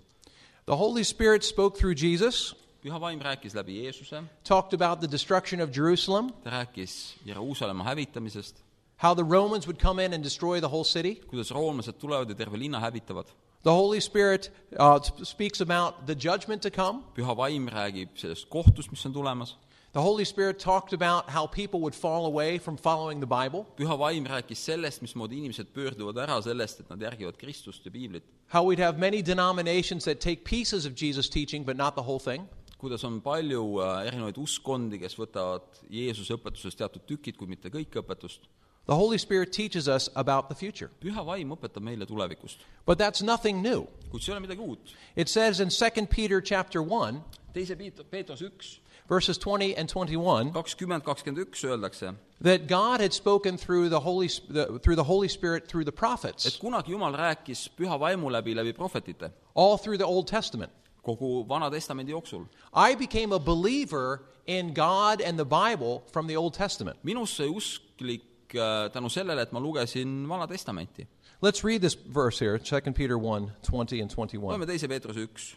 S1: The Holy Spirit spoke through Jesus,
S2: püha vaim rääkis läbi Jeesuse ,
S1: talked about the destruction of Jerusalem,
S2: ta rääkis Jeruusalemma hävitamisest ,
S1: how the Romans would come in and destroy the whole city.
S2: kuidas roomlased tulevad ja terve linna hävitavad .
S1: The Holy Spirit uh, sp- speaks about the judgment to come.
S2: püha vaim räägib sellest kohtust , mis on tulemas ,
S1: The Holy Spirit talked about how people would fall away from following the Bible,
S2: püha vaim rääkis sellest , mismoodi inimesed pöörduvad ära sellest , et nad järgivad Kristust ja piiblit
S1: how we'd have many denominations that take pieces of Jesus' teaching but not the whole thing.
S2: kuidas on palju äh, erinevaid uskkondi , kes võtavad Jeesuse õpetusest teatud tükid , kuid mitte kõik õpetust .
S1: The Holy Spirit teaches us about the future.
S2: püha vaim õpetab meile tulevikust ,
S1: But that's nothing new.
S2: kuid see ei ole midagi uut .
S1: It says in 2 Peter chapter 1,
S2: teise Piet- , Peetrus üks ,
S1: verses 20 and 21,
S2: kakskümmend , kakskümmend üks öeldakse ,
S1: that God had spoken through the Holy Sp- the, through the Holy Spirit through the
S2: et
S1: prophets
S2: kunagi Jumal rääkis püha vaimu läbi , läbi prohvetite
S1: all through the Old Testament.
S2: kogu Vana Testamendi jooksul .
S1: I became a believer in God and the Bible from the Old Testament.
S2: minus sai usklik äh, tänu sellele , et ma lugesin Vana Testamenti .
S1: Let's read this verse here, 2 Peter 1, 20 and 21.
S2: loeme teise Peetruse üks ,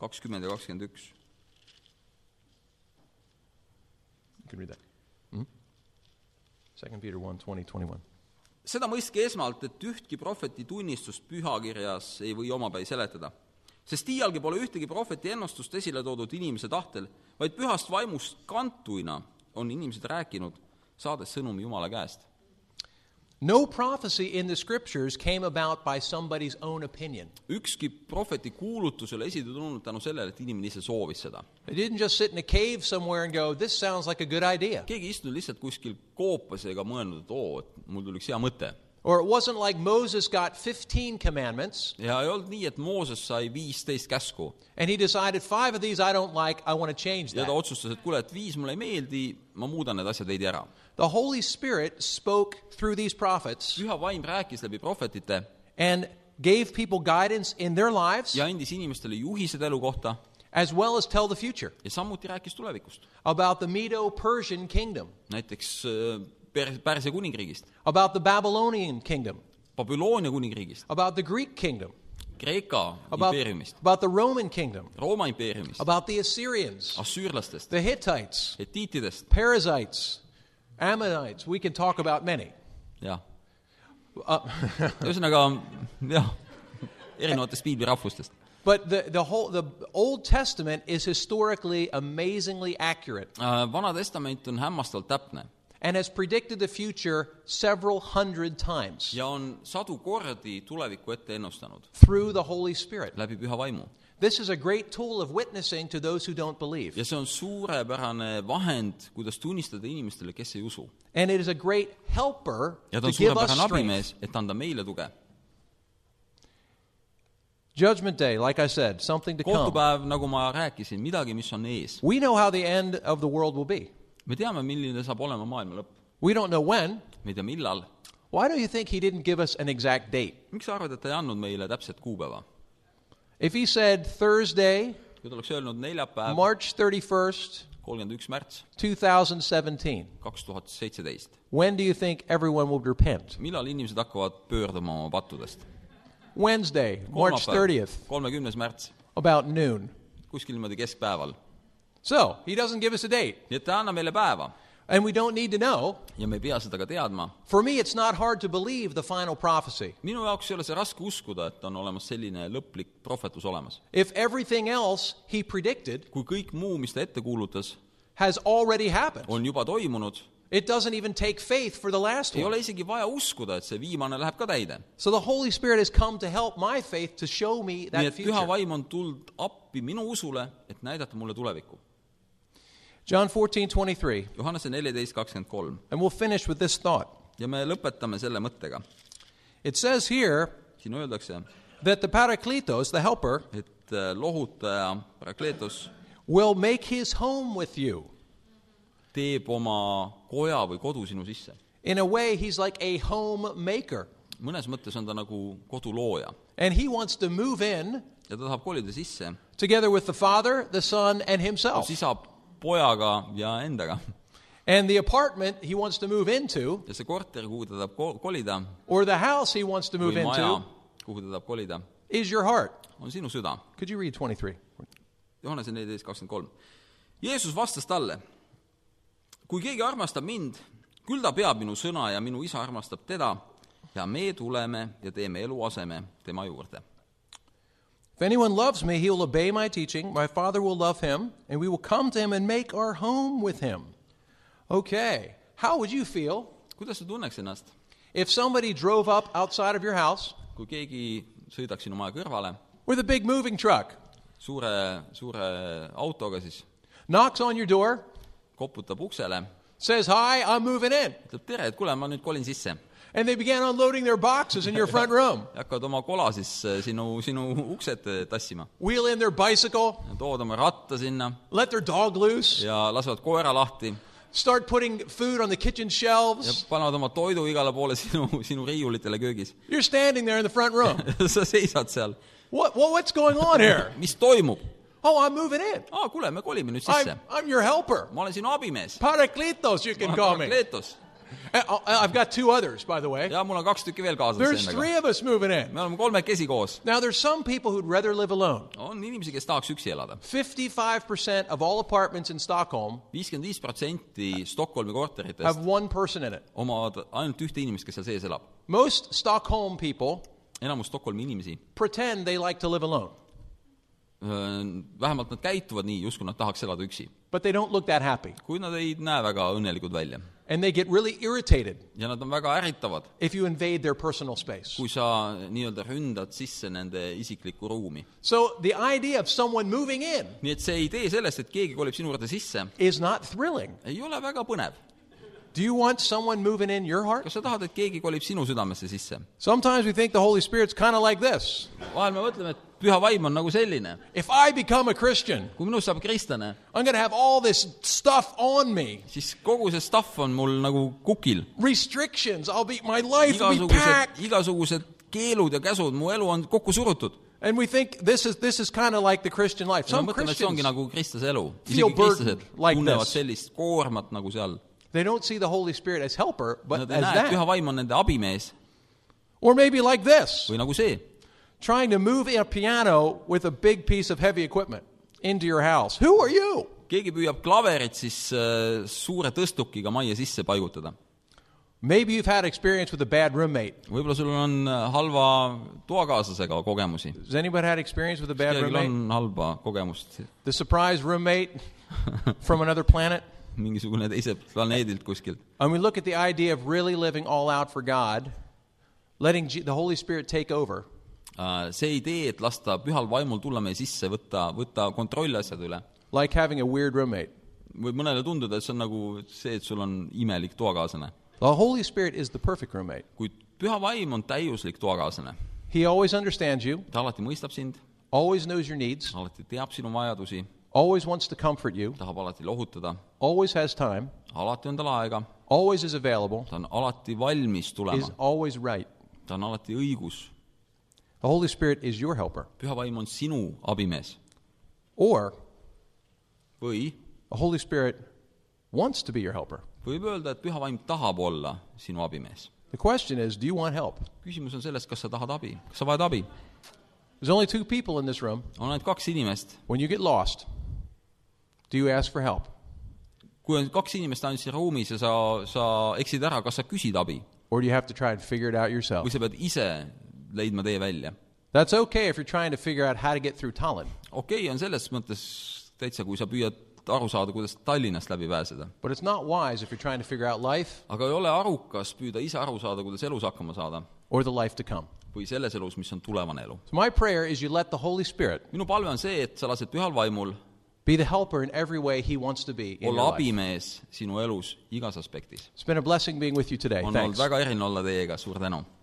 S2: kakskümmend ja kakskümmend üks .
S1: You can read that. Hmm? 2 Peter 1, 20, 21.
S2: seda mõistke esmalt , et ühtki prohveti tunnistust pühakirjas ei või omapäi seletada . sest iialgi pole ühtegi prohveti ennustust esile toodud inimese tahtel , vaid pühast vaimust kantuina on inimesed rääkinud , saades sõnumi Jumala käest .
S1: No prophecy in the scriptures came about by somebody's own opinion.
S2: ükski prohveti kuulutus ei ole esile tulnud tänu sellele , et inimene ise soovis seda .
S1: They didn't just sit in a cave somewhere and go, this sounds like a good idea.
S2: keegi ei istunud lihtsalt kuskil koopas ega mõelnud , et oo , et mul tuli üks hea mõte .
S1: Or it wasn't like Moses got 15 commandments
S2: ja ei olnud nii , et Mooses sai viisteist käsku
S1: and he decided five of these I don't like, I want to change
S2: ja ta
S1: that.
S2: otsustas , et kuule , et viis mulle ei meeldi , ma muudan need asjad veidi ära
S1: The Holy Spirit spoke through these prophets
S2: püha vaim rääkis läbi prohvetite
S1: and gave people guidance in their lives
S2: ja andis inimestele juhised elu kohta
S1: as well as tell the future
S2: ja samuti rääkis tulevikust .
S1: about the Medo Persian kingdom,
S2: näiteks äh, Per- , Pärsia kuningriigist ,
S1: about the Babylonian kingdom,
S2: Babyloonia kuningriigist ,
S1: about the Greek kingdom,
S2: Kreeka
S1: about,
S2: impeeriumist ,
S1: about the Roman kingdom,
S2: Rooma impeeriumist ,
S1: about the Assyrians,
S2: assüürlastest ,
S1: the Hittites,
S2: hetiitidest
S1: Perizzites, Ammonites. We can talk about many.
S2: ja
S1: Uh,
S2: ühesõnaga jah , erinevatest piiblirahvustest .
S1: But the, the whole the Old Testament is historically amazingly accurate
S2: Äh, Vana Testament on hämmastavalt täpne
S1: and has predicted the future several hundred times
S2: ja on sadu kordi tulevikku ette ennustanud
S1: through the Holy Spirit.
S2: läbi püha vaimu
S1: This is a great tool of witnessing to those who don't believe.
S2: ja see on suurepärane vahend , kuidas tunnistada inimestele , kes ei usu
S1: And it is a great helper
S2: ja ta
S1: to
S2: on
S1: give us
S2: suurepärane
S1: strength.
S2: abimees , et anda meile tuge .
S1: Judgment Day, like I said, something to come.
S2: kohtupäev , nagu ma rääkisin , midagi , mis on ees .
S1: We know how the end of the world will be.
S2: me teame , milline saab olema maailma lõpp .
S1: We don't know when.
S2: me ei tea , millal .
S1: Why do you think he didn't give us an exact date?
S2: miks sa arvad , et ta ei andnud meile täpset kuupäeva ?
S1: If he said Thursday,
S2: kui ta oleks öelnud neljapäev ,
S1: March 31st,
S2: kolmkümmend üks märts
S1: 2017,
S2: kaks tuhat seitseteist ,
S1: When do you think everyone will repent?
S2: millal inimesed hakkavad pöörduma oma pattudest ?
S1: Wednesday, March 30th,
S2: kolmekümnes märts ,
S1: about noon.
S2: kuskil niimoodi keskpäeval .
S1: So, he doesn't give us a date,
S2: nii et ta ei anna meile päeva
S1: and we don't need to know.
S2: ja me ei pea seda ka teadma .
S1: For me, it's not hard to believe the final prophecy.
S2: minu jaoks ei ole see raske uskuda , et on olemas selline lõplik prohvetus olemas .
S1: If everything else he predicted
S2: kui kõik muu , mis ta ette kuulutas ,
S1: has already happened,
S2: on juba toimunud ,
S1: it doesn't even take faith for the last
S2: ei
S1: one.
S2: ole isegi vaja uskuda , et see viimane läheb ka täide .
S1: So, the Holy Spirit has come to help my faith to show me
S2: nii
S1: that
S2: et püha
S1: future.
S2: vaim on tulnud appi minu usule , et näidata mulle tulevikku .
S1: John 14, 23.
S2: Johannese neliteist kakskümmend kolm
S1: And we'll finish with this thought.
S2: ja me lõpetame selle mõttega .
S1: It says here
S2: siin öeldakse ,
S1: that the Parakletos, the helper,
S2: et äh, lohutaja Parakletos
S1: will make his home with you.
S2: teeb oma koja või kodu sinu sisse .
S1: In a way, he's like a homemaker.
S2: mõnes mõttes on ta nagu kodulooja
S1: And he wants to move in
S2: ja ta tahab kolida sisse
S1: together with the Father, the Son, and himself.
S2: koos isa , pojaga ja endaga .
S1: And the apartment he wants to move into,
S2: ja see korter , kuhu ta tahab ko- kolida
S1: or the house he wants to move
S2: või maja
S1: into, ,
S2: kuhu ta tahab kolida ,
S1: is your heart.
S2: on sinu süda
S1: Could you read 23?
S2: Johannese neliteist kakskümmend kolm . Jeesus vastas talle . kui keegi armastab mind , küll ta peab minu sõna ja minu isa armastab teda ja me tuleme ja teeme eluaseme tema juurde .
S1: If anyone loves me, he will obey my teaching. My Father will love him, and we will come to him and make our home with him. Okay. How would you feel
S2: kuidas sa tunneks ennast ,
S1: if somebody drove up outside of your house
S2: kui keegi sõidaks sinu maja kõrvale
S1: with a big moving truck
S2: suure , suure autoga siis
S1: knocks on your door,
S2: koputab uksele ,
S1: says, Hi, I'm moving in.
S2: ütleb tere , et kuule , ma nüüd kolin sisse .
S1: And they began unloading their boxes in your front room,
S2: ja hakkavad oma kola siis äh, sinu , sinu uksed äh, tassima .
S1: wheel in their bicycle,
S2: tood oma ratta sinna
S1: let their dog loose,
S2: ja lasevad koera lahti
S1: start putting food on the kitchen
S2: ja
S1: shelves.
S2: panevad oma toidu igale poole sinu , sinu riiulitele köögis .
S1: You're standing there in the front room.
S2: sa seisad seal .
S1: what, what, what's going on here?
S2: mis toimub ?
S1: Oh, I'm moving in.
S2: aa , kuule , me kolime nüüd sisse
S1: I'm, . I'm your helper.
S2: ma olen sinu abimees .
S1: Parakletos, you can call me.
S2: Kleetos .
S1: Uh, uh, I've got two others, by the way.
S2: ja mul on kaks tükki veel kaasas
S1: There's
S2: endaga .
S1: three of us moving in.
S2: me oleme kolmekesi koos .
S1: Now, there's some people who'd rather live alone.
S2: on inimesi , kes tahaks üksi elada .
S1: 55% of all apartments in Stockholm
S2: viiskümmend viis protsenti Stockholmi korteritest
S1: have one person in it.
S2: omavad ainult ühte inimest , kes seal sees elab .
S1: Most Stockholm people
S2: enamus Stockholmi inimesi ,
S1: pretend they like to live alone,
S2: vähemalt nad käituvad nii , justkui nad tahaks elada üksi .
S1: but they don't look that happy.
S2: kuid nad ei näe väga õnnelikud välja
S1: And they get really irritated
S2: ja nad on väga ärritavad
S1: if you invade their personal space.
S2: kui sa nii-öelda ründad sisse nende isiklikku ruumi .
S1: So, the idea of someone moving in
S2: nii et see idee sellest , et keegi kolib sinu juurde sisse ,
S1: is not thrilling.
S2: ei ole väga põnev .
S1: Do you want someone moving in your heart?
S2: kas sa tahad , et keegi kolib sinu südamesse sisse ?
S1: Sometimes we think the Holy Spirit's kind of like this.
S2: vahel me mõtleme , et püha vaim on nagu selline ,
S1: If I become a Christian,
S2: kui minust saab kristlane ,
S1: I'm going to have all this stuff on me.
S2: siis kogu see stuff on mul nagu kukil .
S1: Restrictions. I'll be my life will be
S2: igasugused
S1: packed. ,
S2: igasugused keelud ja käsud , mu elu on kokku surutud .
S1: And we think this is this is kind of like the Christian life.
S2: ma
S1: Some
S2: mõtlen , et see
S1: Christians
S2: ongi nagu kristlase elu .
S1: Feel
S2: isegi kristlased
S1: burdened like
S2: tunnevad
S1: this.
S2: sellist koormat nagu seal .
S1: they don't see the Holy Spirit as helper, but
S2: Nad ei
S1: as
S2: näe , et püha
S1: that.
S2: vaim on nende abimees
S1: Or maybe like this,
S2: või nagu see
S1: trying to move a piano with a big piece of heavy equipment into your house. Who are you?
S2: keegi püüab klaverit siis äh, suure tõstukiga majja sisse paigutada .
S1: Maybe you've had experience with a bad roommate.
S2: võib-olla sul on äh, halva toakaaslasega kogemusi .
S1: Has anybody had experience with a bad
S2: kellelgi
S1: roommate?
S2: on halba kogemust ,
S1: The surprise roommate from another planet?
S2: mingisugune teiselt planeedilt kuskilt .
S1: And we look at the idea of really living all out for God, letting G- the Holy Spirit take over.
S2: Äh, see idee , et lasta pühal vaimul tulla meie sisse , võtta , võtta kontroll asjade üle ,
S1: like having a weird roommate.
S2: võib mõnele tunduda , et see on nagu see , et sul on imelik toakaaslane .
S1: The Holy Spirit is the perfect roommate.
S2: kuid püha vaim on täiuslik toakaaslane .
S1: He always understands you,
S2: ta alati mõistab sind ,
S1: always knows your needs,
S2: alati teab sinu vajadusi ,
S1: always wants to comfort you,
S2: tahab alati lohutada ,
S1: always has time,
S2: alati on tal aega ,
S1: always is available,
S2: ta on alati valmis tulema
S1: is . always right.
S2: ta on alati õigus .
S1: The Holy Spirit is your helper.
S2: püha vaim on sinu abimees
S1: Or
S2: või
S1: the Holy Spirit wants to be your helper.
S2: võib öelda , et püha vaim tahab olla sinu abimees .
S1: The question is do you want help?
S2: küsimus on selles , kas sa tahad abi , kas sa vajad abi .
S1: There's only two people in this room.
S2: on ainult kaks inimest ,
S1: When you get lost, do you ask for help?
S2: kui on kaks inimest ainult siin ruumis ja sa , sa eksid ära , kas sa küsid abi
S1: Or do you have to try and figure it out yourself?
S2: või sa pead ise leidma tee välja ?
S1: That's okay if you're trying to figure out how to get through Tallinn.
S2: okei okay, on selles mõttes täitsa , kui sa püüad aru saada , kuidas Tallinnast läbi pääseda .
S1: But it's not wise if you're trying to figure out life
S2: aga ei ole arukas püüda ise aru saada , kuidas elus hakkama saada
S1: or the life to come.
S2: või selles elus , mis on tulevane elu .
S1: So, my prayer is you let the Holy Spirit
S2: minu palve on see , et sa lased pühal vaimul
S1: be the helper in every way He wants to be in
S2: olla
S1: your life.
S2: abimees sinu elus igas aspektis .
S1: It's been a blessing being with you today.
S2: on olnud
S1: Thanks.
S2: väga eriline olla teiega , suur tänu